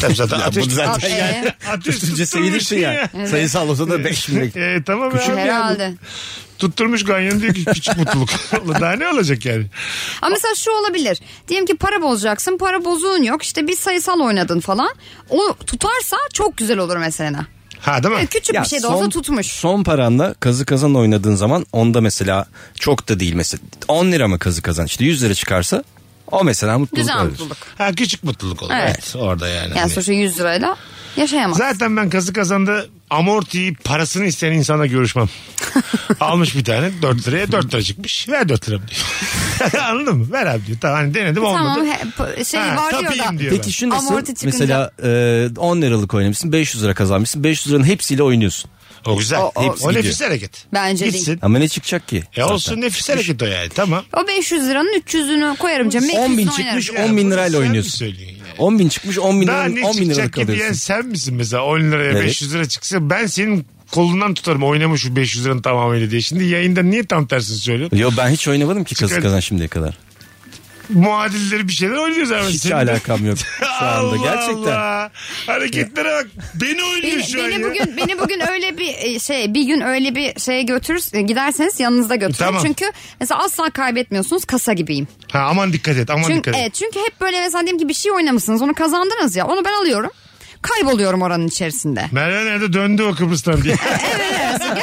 Tabii zaten
Ya
ateş
bu zaten
Ee,
yani.
[LAUGHS]
Ateş
Üstünce sevinirsin
tutturmuş
şey ya. Sayısal olsa da
[LAUGHS]
5 bin
E, tamam ya.
herhalde.
Tutturmuş ganyan diyor ki küçük
[LAUGHS]
mutluluk. Ulan Daha ne olacak yani?
Ama mesela şu olabilir. Diyelim ki para bozacaksın. Para bozuğun yok. işte bir sayısal oynadın falan. O tutarsa çok güzel olur mesela.
Ha değil mi?
Yani küçük bir şey de olsa tutmuş.
Son paranla kazı kazan oynadığın zaman onda mesela çok da değil mesela 10 lira mı kazı kazan işte 100 lira çıkarsa o mesela mutluluk
Güzel
verir.
mutluluk.
Ha küçük mutluluk olur. Evet.
Evet.
orada yani.
Yani
Hani-
sonuçta 100 lirayla yaşayamaz.
Zaten ben kazı kazanda amortiyi parasını isteyen insana görüşmem.
[LAUGHS]
Almış bir tane 4 liraya 4 lira çıkmış. Ver 4 lira diyor. [LAUGHS] Anladın mı? Ver abi diyor. Tamam hani denedim olmadı.
Tamam he- p- şey
Ha,
var diyor
tapayım
da.
diyor.
Peki şu nasıl
Amorti çıkınca-
mesela e, 10 liralık oynamışsın 500 lira kazanmışsın 500 liranın hepsiyle oynuyorsun.
O güzel.
O-
O,
o-
nefis hareket.
Bence değil.
Gitsin.
Ama ne çıkacak ki?
E olsun nefis hareket o yani. Tamam.
O 500 liranın 300'ünü koyarım cebime.
10 bin
200'ünü oynarım.
çıkmış 10 bin lirayla
Sen mi
oynuyorsun.
söylüyorsun yani?
10 bin çıkmış 10 bin
Daha
liralık,
ne
10 bin liralık
çıkacak ki diyen
alıyorsun.
sen misin mesela 10 liraya
Evet.
500 lira çıksa ben senin kolundan tutarım oynamış şu 500 liranın tamamıyla diye. Şimdi yayında niye tam tersini söylüyorsun?
Yo ben hiç oynamadım ki kazı
Çıkar-
kazan şimdiye kadar.
Muadilleri bir şeyler oynuyoruz abi.
Hiç
Senin de-
alakam yok şu anda
Allah
gerçekten.
Allah. Hareketlere bak. Beni oynuyor
Beni,
şu an
beni
ya.
bugün beni bugün öyle bir e, şey bir gün öyle bir şeye götürür e, giderseniz yanınızda götürün.
Tamam.
Çünkü mesela asla kaybetmiyorsunuz kasa gibiyim.
Ha, aman dikkat et aman
Çünkü
dikkat et.
evet, çünkü hep böyle mesela diyelim ki bir şey oynamışsınız onu kazandınız ya onu ben alıyorum. Kayboluyorum
[LAUGHS]
oranın içerisinde.
Merve nerede döndü o Kıbrıs'tan
[LAUGHS]
diye.
Evet, evet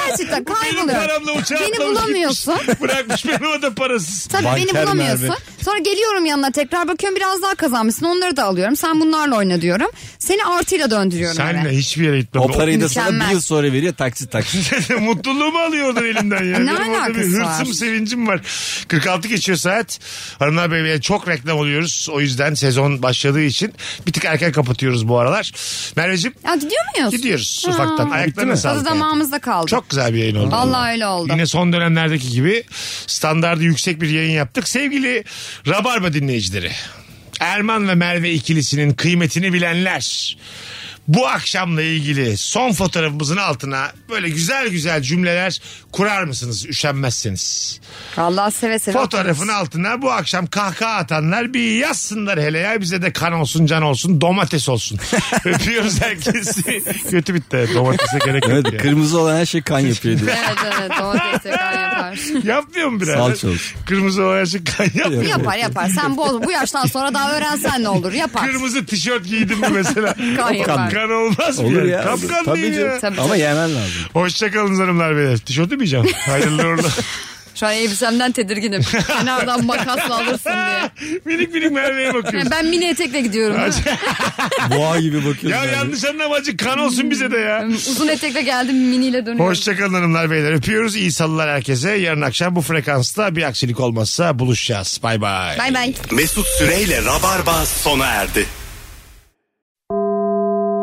gerçekten
Benim
kayboluyorum.
paramla uçağa
Beni
atlamış
bulamıyorsun.
gitmiş. [LAUGHS] Bırakmış beni o da
[LAUGHS]
parasız.
Tabii
Banker
beni bulamıyorsun.
Merve.
Sonra geliyorum yanına tekrar bakıyorum biraz daha kazanmışsın onları da alıyorum. Sen bunlarla oyna diyorum. Seni artıyla döndürüyorum
Senle
eve.
hiçbir yere gitmem. [LAUGHS]
O parayı da sana
Mükemmel.
bir yıl sonra veriyor taksit taksit.
Mutluluğumu alıyordun elimden ya.
Ne
Benim orada
alakası
bir
var?
hırsım sevincim var. 46 geçiyor saat. Hanımlar beyler çok reklam oluyoruz. O yüzden sezon başladığı için bir tık erken kapatıyoruz bu aralar. Merveciğim
Ya gidiyor muyuz?
gidiyoruz ufaktan. Ayaklarına
Tadı
sağlık. hayatım.
damağımızda kaldı.
Çok güzel bir yayın oldu.
Vallahi öyle oldu.
Yine son dönemlerdeki gibi standardı yüksek bir yayın yaptık. Sevgili Rabarba dinleyicileri. Erman ve Merve ikilisinin kıymetini bilenler. Bu akşamla ilgili son fotoğrafımızın altına böyle güzel güzel cümleler kurar mısınız? Üşenmezseniz.
Allah seve seve.
Fotoğrafın altına bu akşam kahkaha atanlar bir yazsınlar hele ya. Bize de kan olsun, can olsun, domates olsun. Öpüyoruz herkesi. Kötü bitti. Domatese gerek yok.
Evet
ya.
kırmızı olan her şey kan yapıyor diyor.
Evet evet domates tekrar yapar.
Yapmıyor mu birader?
Salça olsun.
Kırmızı olan şey
[LAUGHS]
kan yapmıyor. mu?
Yapar yapar. Sen boz bu yaştan sonra daha öğrensen ne olur yapar.
Kırmızı tişört giydin mi mesela?
[LAUGHS] Kan yapar.
Kan olmaz mı?
Olur
yani?
ya.
Kapkan
Tabii
değil
canım.
ya.
Tabii.
Ama yemen lazım.
Hoşçakalın hanımlar beyler. Tişörtü mü
[LAUGHS]
yiyeceğim? Hayırlı uğurlu.
Şu an elbisemden tedirginim. Kenardan makasla alırsın diye.
minik minik Merve'ye bakıyoruz.
Yani ben mini etekle gidiyorum.
Boğa gibi bakıyorsun.
ya
yani.
yanlış anlama acı kan olsun bize de ya.
Uzun etekle geldim miniyle dönüyorum.
Hoşçakalın hanımlar beyler. Öpüyoruz. İyi salılar herkese. Yarın akşam bu frekansta bir aksilik olmazsa buluşacağız. Bay bay.
Bay bay.
Mesut Süreyle Rabarba sona erdi.